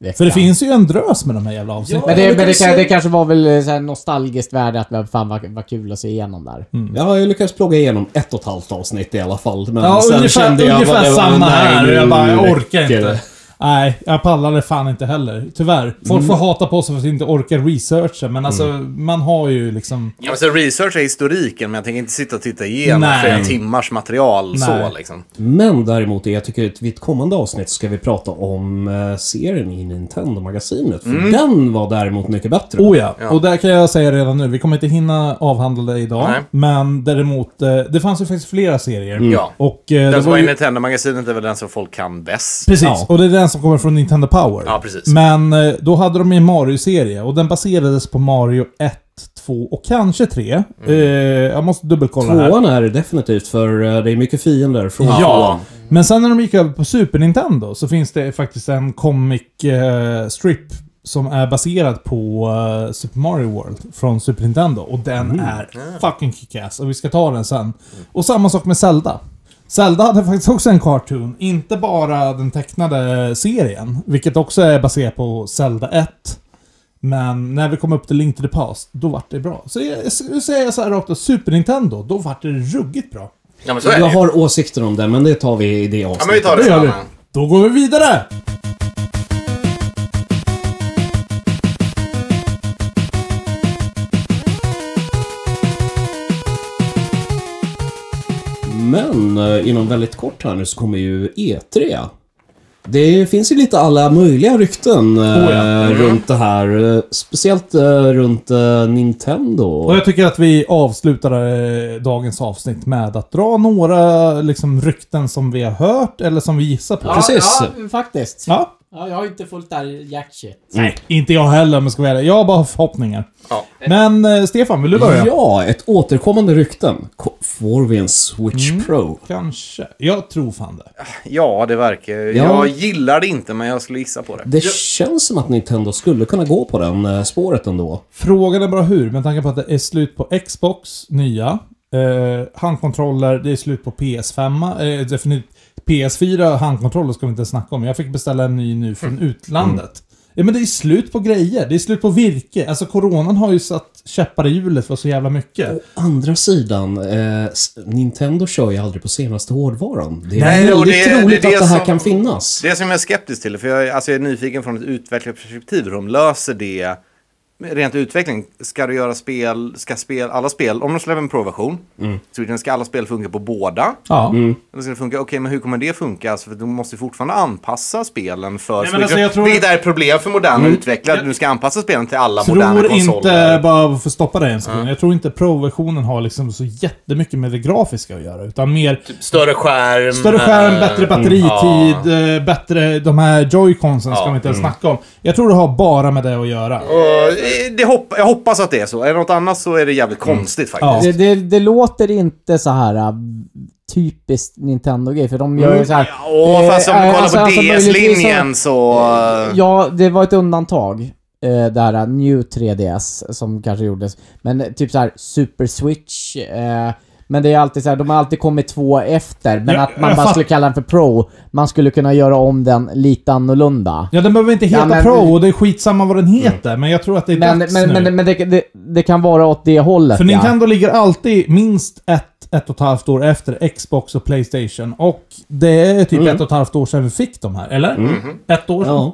veckan. För det finns ju en drös med de här jävla avsnitten. Men, det, men det, kan- det kanske var väl eh, så här nostalgiskt värde att men fan vad, vad kul att se igenom där. Mm. Jag har ju lyckats plugga igenom ett och ett halvt avsnitt i alla fall. Men Ja, sen ungefär, kände jag ungefär bara, det var- samma nej, här. nu Jag bara, jag orkar räcker inte. det. Nej, jag pallar det fan inte heller. Tyvärr. Folk Mm. får hata på sig för att de inte orkar researcha, men alltså man har ju liksom... Ja, men så research är historiken, men jag tänker inte sitta och titta igenom Nej. flera timmars material Nej. så liksom. Men däremot, jag tycker att vid ett kommande avsnitt ska vi prata om eh, serien i Nintendo-magasinet. För Mm. den var däremot mycket bättre. Oh ja. och där kan jag säga redan nu, vi kommer inte hinna avhandla det idag. Nej. Men däremot, eh, det fanns ju faktiskt flera serier. Ja. Och eh, det Den som var var i ju... Nintendo-magasinet är väl den som folk kan bäst. Precis, Ja. och det är den som kommer från Nintendo Power. Ja, precis. Men eh, då hade de ju en Mario-serie och den baserades på Mario 1, 2 och kanske Mm. 3. Eh, jag måste dubbelkolla här. Tvåan är det definitivt, för eh, det är mycket fiender från Ja. Men sen när de gick över på Super Nintendo så finns det faktiskt en comic eh, strip som är baserad på eh, Super Mario World från Super Nintendo. Och den är fucking kickass och vi ska ta den sen. Och samma sak med Zelda. Zelda hade faktiskt också en cartoon, inte bara den tecknade serien, vilket också är baserat på Zelda 1. Men när vi kom upp till Link to the Past, då vart det bra. Så jag, så säger jag så här rakt av, Super Nintendo, då vart det ruggigt bra. Ja, men så är Jag det ju. har åsikter om det, men det tar vi i det avsnittet. Ja, men vi tar det Det gör sen. vi. Då går vi vidare! Men eh, inom väldigt kort här nu så kommer ju E3. Det finns ju lite alla möjliga rykten eh, Oh ja. runt det här. eh, Speciellt eh, runt eh, Nintendo. Och jag tycker att vi avslutar eh, dagens avsnitt med att dra några liksom, rykten som vi har hört eller som vi gissar på. Precis. Ja, faktiskt. Ja. Ja. jag har inte fullt där jack shit. Nej, Mm. inte jag heller om jag ska vara ärlig. Jag har bara förhoppningar. Ja. Men eh, Stefan, vill du börja? Ja, ett återkommande rykten. Ko- Får vi en Switch Pro? Kanske. Jag tror fan det. Ja, det verkar ju. Ja. Jag gillar det inte, men jag skulle gissa på det. Det känns som att Nintendo skulle kunna gå på den eh, spåret ändå. Frågan är bara hur, med tanke på att det är slut på Xbox, nya. Eh, handkontroller, det är slut på PS5. Eh, definitivt PS4 handkontroller ska vi inte snacka om. Jag fick beställa en ny nu Mm. från utlandet. Ja, men det är slut på grejer. Det är slut på virke. Alltså coronan har ju satt käppar i hjulet för så jävla mycket. Mm. Andra sidan, eh, s- Nintendo kör ju aldrig på senaste hårdvaran. Det är Nej, och väldigt det- det är troligt det att det här som- kan finnas. Det som jag är skeptisk till, för jag, är- alltså jag är nyfiken från ett utvecklarperspektiv hur de löser det. Rent utveckling, ska du göra spel, ska spel, alla spel, om de släpper en proversion, mm. ska alla spel funka på båda? Ja. Eller ska det funka, okej men hur kommer det funka? Alltså, för de måste ju fortfarande anpassa spelen för men Switch. alltså, jag tror- Mm. Vilket är ett problem för moderna utvecklare, att du ska anpassa spelen till alla moderna tror konsoler. inte, bara för att stoppa dig en sekund, jag tror inte Pro-versionen har liksom så jättemycket med det grafiska att göra. Utan mer Större skärm. Större Mm. skärm, eh, bättre batteritid, Mm. eh, bättre... De här joyconsen ska vi inte ens snacka om. Jag tror det har bara med det att göra. Och det, det hopp, jag hoppas att det är så. Är det något annat så är det jävligt konstigt Mm. faktiskt. Det, det, det låter inte så här äh, typiskt Nintendo-grej, för de gör ju så här... Mm. Åh, fast om du eh, kollar alltså, på alltså, DS-linjen möjligtvis så... så- Ja, det var ett undantag. eh, Där äh, New 3DS som kanske gjordes. Men eh, typ så här Super Switch. eh, Men det är alltid så här, de har alltid kommit två efter. Men Ja, att man jag bara fatt- skulle kalla den för Pro. Man skulle kunna göra om den lite annorlunda. Ja, den behöver inte heta Ja, men- Pro och det är skitsamma vad den Mm. heter, men jag tror att det är Men, dags men, nu. men, men det, det, det kan vara åt det hållet För ja. Nintendo ligger alltid minst ett, ett och ett halvt år efter Xbox och Playstation. Och det är typ ett och ett halvt år sedan vi fick de här, eller? Ett år sedan? Mm.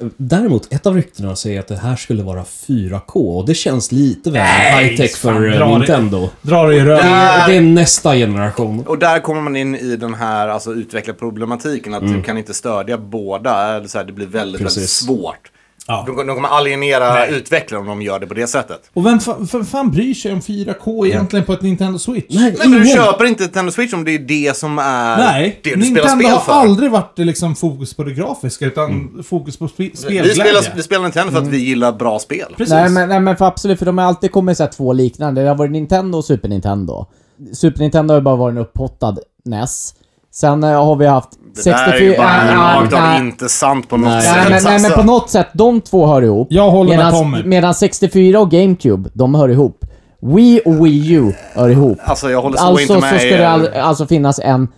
Ja. Däremot, ett av ryktena säger att det här skulle vara 4K och det känns lite väl high-tech för eh, dra det. Nintendo. Dra dig i röven. Där- Det är nästa generation. Och där kommer man in i den här alltså, utvecklarproblematiken. Att Mm. du kan inte stödja båda. Eller så här, det blir väldigt, väldigt Precis. svårt. Ja. De, de kommer alienera utvecklare om de gör det på det sättet. Och vem fa- vem fan bryr sig om 4K egentligen på ett Nintendo Switch? Nej, Nej, men du ingen. köper inte Nintendo Switch om det är det som är Nej, det du spelar Nintendo spel har för. Mm. aldrig varit liksom fokus på det grafiska, utan fokus på spe- spelglädje. vi, spelar, vi spelar Nintendo för att vi Mm. gillar bra spel. Precis. Nej men, nej men för absolut, för de har alltid kommit så här två liknande. Det har varit Nintendo och Super Nintendo. Super Nintendo har ju bara varit en upphottad NES. Sen eh, har vi haft Det där är ju bara rakt av inte sant på något sätt. Nej men, nej men alltså. på något sätt, de två hör ihop. Jag håller med Medans- Tommy. Medan 64 och GameCube, de hör ihop. Wii och Wii U hör ihop. Alltså jag håller så Alltså inte så med. ska er. det all, alltså finnas en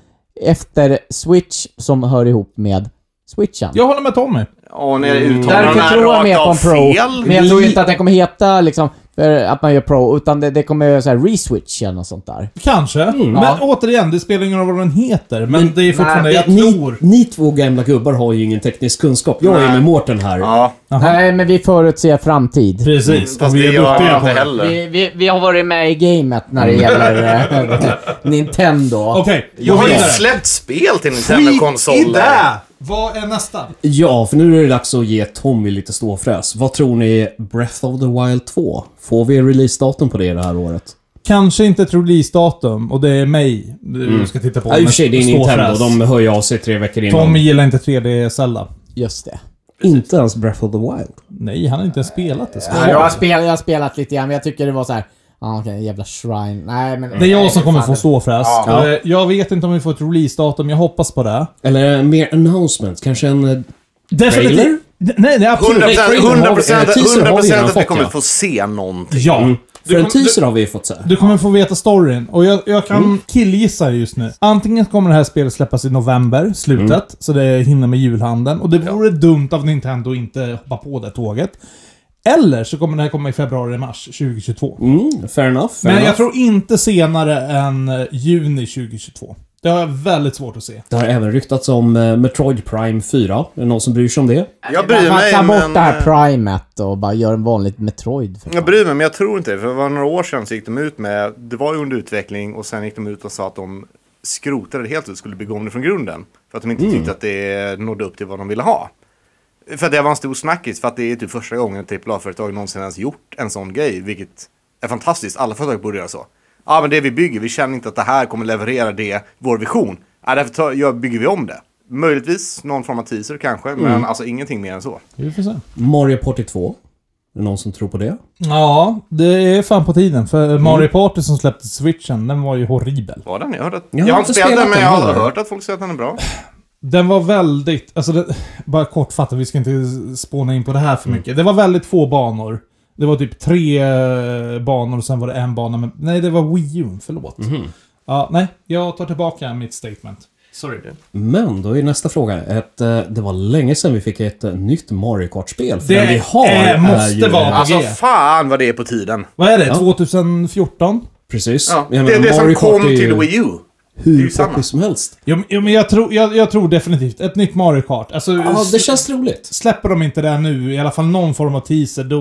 efter Switch som hör ihop med Switchen. Jag håller med Tommy. Åh, när uttalandena Mm. Därför är tror jag rakt mer på av en Pro. fel. Men jag tror inte att den kommer heta liksom för att man gör Pro, utan det, det kommer göra så här reswitch eller något sånt där. Kanske. men Ja. återigen, det spelar ingen roll vad den heter. Mm. Men det är fortfarande, Nej, jag ni, tror... ni två gamla gubbar har ju ingen teknisk kunskap. Jag är med Mårten här. Ja, Nej, men vi förutser framtid. Precis. Mm, fast och vi det är gör duktiga jag på inte det. heller. Vi, vi, vi har varit med i gamet när det gäller eh, Nintendo. Okej, Jag gå har ju vidare. släppt spel till Skit i Nintendo-konsoler. det! Vad är nästa? Ja, för nu är det dags att ge Tommy lite ståfräs. Vad tror ni Breath of the Wild 2? Får vi releasedatum på det det här året? Kanske inte ett releasedatum och det är mig du Mm. ska titta på. Ja, i och men för sig, det är stå Nintendo. fräs. De hör ju av sig tre veckor innan. Tommy gillar inte 3D-Zelda. Just det. Inte ens Breath of the Wild. Nej, han har inte ens spelat det. ska Jag har, jag. spelat, jag har spelat lite grann, men jag tycker det var så här. Ah, okej, jävla shrine. Nej, men... Det är jag som kommer fan, få stå fräs. Ja. Eh, Jag vet inte om vi får ett releasedatum, jag hoppas på det. Eller mer announcement. Kanske en... eh, Definitivt. Nej, nej absolut. 100%, Trailer har vi- 100%, eh, teaser har vi redan 100% att vi fått, kommer ja. få se någonting. Ja. För en teaser har vi ju fått se. Du kommer få veta storyn. Och jag, jag kan killgissa just nu. Antingen kommer det här spelet släppas i november, slutet, så det hinner med julhandeln. Och det vore dumt av Nintendo att inte hoppa på det tåget. Eller så kommer det här komma i februari-mars 2022. Mm, fair enough. Fair Men enough. jag tror inte senare än eh, juni 2022. Det har jag väldigt svårt att se. Det har även ryktats om eh, Metroid Prime 4. Är det någon som bryr sig om det? Jag Man bryr man mig, tar bort men... det här primet och bara gör en vanlig Metroid. För Jag bryr mig, men jag tror inte det. För det var några år sedan så gick de ut med, det var ju under utveckling och sen gick de ut och sa att de skrotade det helt och skulle bygga om det från grunden. För att de inte tyckte att det nådde upp till vad de ville ha. För att det var en stor snackis, för att det är typ första gången ett AAA-företag någonsin ens gjort en sån grej, vilket är fantastiskt. Alla företag borde göra så. Ja, men det vi bygger, vi känner inte att det här kommer leverera det, vår vision. Ja, därför tar, gör- bygger vi om det. Möjligtvis någon form av teaser kanske, men alltså ingenting mer än så. Vi får se. Mario Party 2. Är det någon som tror på det? Ja, det är fan på tiden. För Mario Party som släppte switchen, den var ju horribel. Var den? Jag, hörde att... jag, har inte spelat den, men jag har aldrig hört att folk säger att den är bra. Den var väldigt, alltså det, bara kortfattat, vi ska inte spåna in på det här för mycket. Det var väldigt få banor. Det var typ tre eh, banor och sen var det en bana med, nej det var Wii U, förlåt. Ja, nej, jag tar tillbaka mitt statement. Sorry. Men då är nästa fråga. Ett, eh, det var länge sedan vi fick ett eh, nytt Mario Kart-spel. För Det den vi har är- måste ju- vara- Alltså Yeah. fan vad det är på tiden. Vad är det? 2014? Precis. Ja, Jag det är menar, det som Mario Kart kom är ju till Wii U. Hur samma. poppis som helst. Jo, men- jo men jag tror, jag, jag tror definitivt ett nytt Mario Kart. Alltså, Ja, det känns roligt. släpper de inte det nu, i alla fall någon form av teaser, då,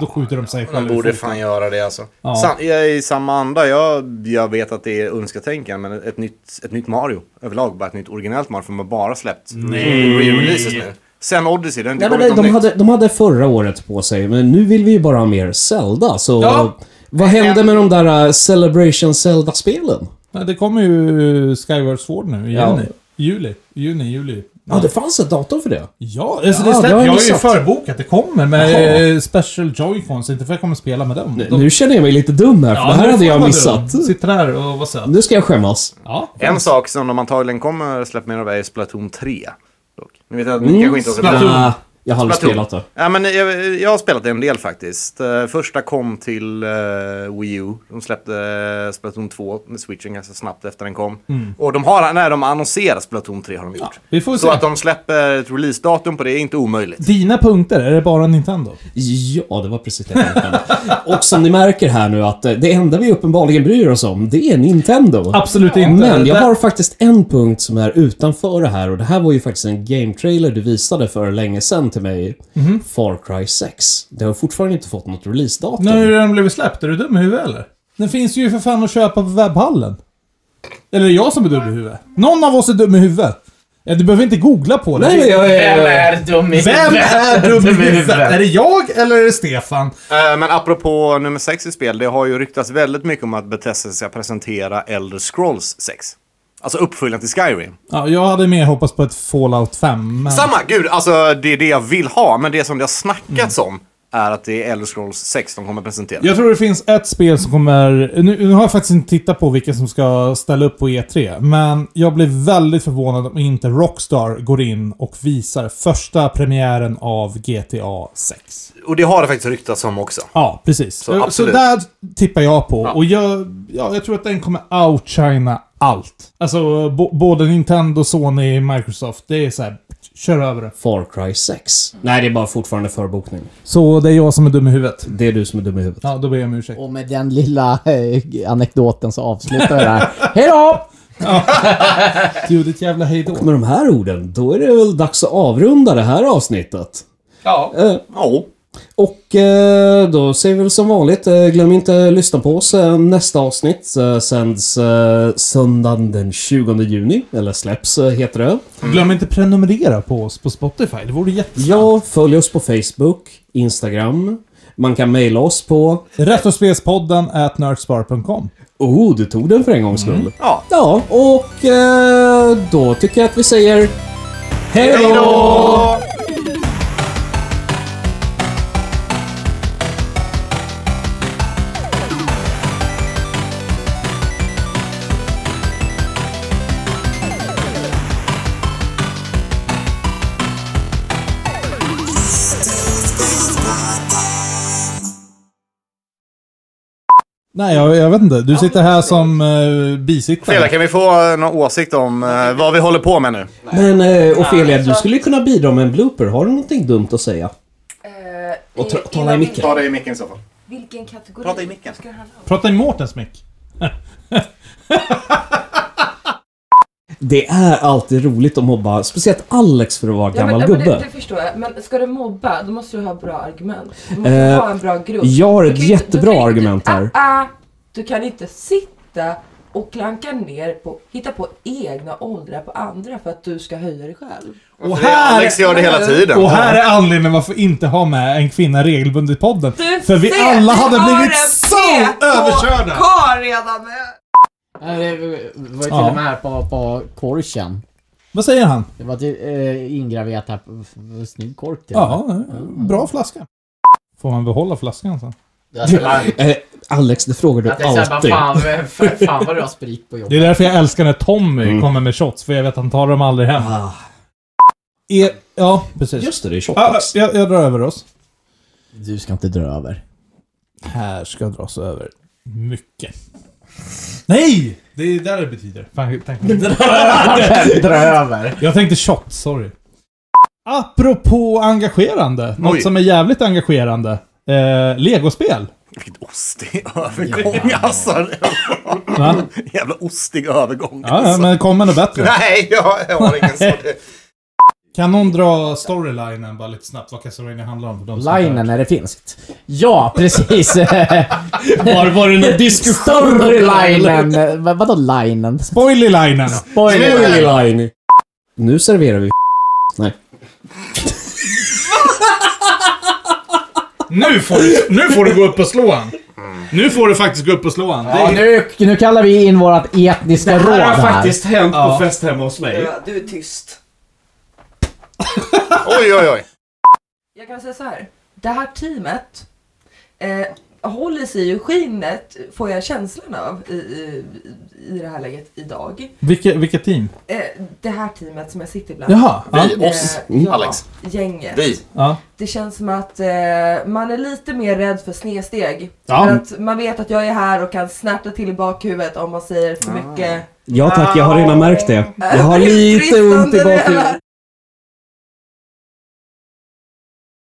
då skjuter de sig De själva i borde foten. fan göra det alltså. Ja. Sam, jag är i samma anda, jag, jag vet att det är önsketänkande, men ett nytt, ett nytt Mario överlag, bara ett nytt originellt Mario, för de har bara släppt re-releases nu. Sen Odyssey, det har inte Nej, men kommit nej, något de, nytt. hade, de hade förra året på sig, men nu vill vi ju bara ha mer Zelda, så... Ja. Vad hände med de där eh, Celebration Zelda-spelen? Nej, det kommer ju Skyward Sword nu i Ja. juni. Juli. Juni, juli. Ja, det fanns ett datum för det. Ja, alltså Ja, det det har stämmer. jag Jag har ju missat. förbokat. Det kommer med Jaha. eh, special joycons. Inte för jag kommer spela med dem. De- Nu känner jag mig lite dum här, för Ja, det här nu får hade jag man missat. dum. Sitter där och vad söt. Nu ska jag skämmas. Ja. En sak som de antagligen kommer släppa mer av är Splatoon 3. Dock. Nu vet jag att ni Mm, kanske inte har spelat Splatoon. Nej, jag har aldrig Splatoon. spelat det. Ja, men jag, jag har spelat det en del faktiskt. Eh, Första kom till eh, Wii U. De släppte eh, Splatoon 2 med switchen ganska snabbt efter den kom. Och de har, när de annonserar Splatoon 3 har de gjort. Mm. Vi får Så se. att de släpper ett releasedatum på det är inte omöjligt. Dina punkter, är det bara Nintendo? Ja, det var precis det jag tänkte. Och som ni märker här nu att eh, det enda vi uppenbarligen bryr oss om, det är Nintendo. Absolut inte. Men jag Där- har faktiskt en punkt som är utanför det här och det här var ju faktiskt en game trailer du visade för länge sedan till mig. Mhm. Far Cry 6. Det har fortfarande inte fått något releasedatum. Nu har den blivit släppt. Är du dum i huvudet eller? Den finns ju för fan att köpa på webbhallen. Eller är det jag som är dum i huvudet? Någon av oss är dum i huvudet. Ja, du behöver inte googla på det. Nej, men jag är... Vem är dum i Vem är dum i huvudet? Är det jag eller är det Stefan? Eh, Men apropå nummer 6 i spel, det har ju ryktats väldigt mycket om att Bethesda ska presentera Elder Scrolls 6. Alltså uppföljaren till Skyrim. Ja, jag hade mer hoppats på ett Fallout 5. Men... Samma, gud, alltså det är det jag vill ha, men det som det har snackats Mm. om är att det är Elder Scrolls 6 de kommer presentera. Jag tror det finns ett spel som kommer... Nu, nu har jag faktiskt inte tittat på vilka som ska ställa upp på E3, men jag blir väldigt förvånad om inte Rockstar går in och visar första premiären av GTA 6. Och det har det faktiskt ryktats om också. Ja, precis. Så, absolut. där tippar jag på. Och jag, ja, jag tror att den kommer outshina allt. Alltså, bo, både Nintendo, Sony, Microsoft. Det är så här, kör över det. Far Cry 6. Nej, det är bara fortfarande förbokning. Så det är jag som är dum i huvudet. Det är du som är dum i huvudet. Ja, då ber jag om ursäkt. Och med den lilla eh, anekdoten så avslutar vi det här. Hej då! Du, ditt jävla hejdå. Med de här orden, då är det väl dags att avrunda det här avsnittet. Eh, Ja. Ja. Och eh, då säger vi väl som vanligt, eh, glöm inte att lyssna på oss. Eh, Nästa avsnitt eh, sänds eh, söndagen den 20 juni, eller släpps eh, heter det. Glöm inte prenumerera på oss på Spotify. Det vore jättesnällt. Ja, följ oss på Facebook, Instagram. Man kan mejla oss på... Retrospelspodden at nerdspar.com. Oh, du tog den för en gångs skull. Ja. Ja, och eh, då tycker jag att vi säger... Hej då! Nej, jag, jag vet inte. Du sitter här som uh, Fela, bisittare. kan vi få eh, någon åsikt om eh, vad vi håller på med nu? Men eh, Ofelia, du skulle ju kunna bidra med en blooper. Har du någonting dumt att säga? Eh, Och ta- tala i micken. Ta dig i micken i så fall. Vilken kategori? Prata i micken. ska det handla om? Prata i Mårtens mick. Det är alltid roligt att mobba, speciellt Alex för att vara gammal ja, men, gubbe. Det, det förstår jag. Men ska du mobba, då måste du ha bra argument. Du måste Eh, ha en bra grund. jag har Du ett kan ju inte- jättebra du kan ju argument inte, här. Ah, ah, du kan inte sitta och klanka ner på, hitta på egna åldrar på andra för att du ska höja dig själv. Och Det är Alex här, gör det hela tiden. och här är anledningen varför inte ha med en kvinna regelbundet i podden. Du För vi ser, alla vi hade har blivit en så PK överkörda. Karl redan nu. Det var ju till Ja. och med här på, på korken. Vad säger han? Det var till, eh, ingraverat här. på- f- Snygg kork till och med. Ja, bra flaska. Får man behålla flaskan sen? Jag tänkte- Eh, Alex, det frågar du jag tänkte såhär, vad alltid. fan, vad- fan vad du har sprit på Det jobbet. är därför jag älskar när Tommy kommer med shots, för jag vet att han tar dem aldrig hem. Ah, E- ja, precis. just det, det är Ah, Shotbox. jag, jag drar över oss. Du ska inte dra över. Här ska dras över mycket. Nej! Det är där det betyder. Fan, tack. dra över. Jag tänkte shot, sorry. Apropå engagerande. Något Oj. som är jävligt engagerande. Eh, legospel. Vilken ostig övergång alltså. Va? Jävla ostig övergång. Ja, ja, alltså. men kommer något bättre. Nej, jag, jag har ingen sån. Kan någon dra storylinen bara lite snabbt? Vad Castlevania handlar om? För de som inte Linen är det finskt. Ja, precis. Var, var det någon Större linen. Va- Vadå linen? Spoiler-linen! Spoiler. line? Nu serverar vi Nej. Nu får, du, nu får du gå upp och slå han. Nu får du faktiskt gå upp och slå han. Ja, nu, nu kallar vi in vårt etniska råd här. hänt Ja. fest hemma hos mig. Du är tyst. Oj, oj, oj. Jag kan säga så här. Det här teamet eh, håller sig ju skinnet, får jag känslan av, i, i, i det här läget idag. Vilket, vilket team? Eh, det här teamet som jag sitter bland. Jaha, Vi, oss, ja, Alex. Gänget. Vi. Ja. Det känns som att eh, man är lite mer rädd för snedsteg. Ja. För att man vet att jag är här och kan snärta till i bakhuvudet om man säger för mycket. Ja tack, jag har redan märkt det. Jag har lite ont i Ah, Bristande bakhuvudet. rävar.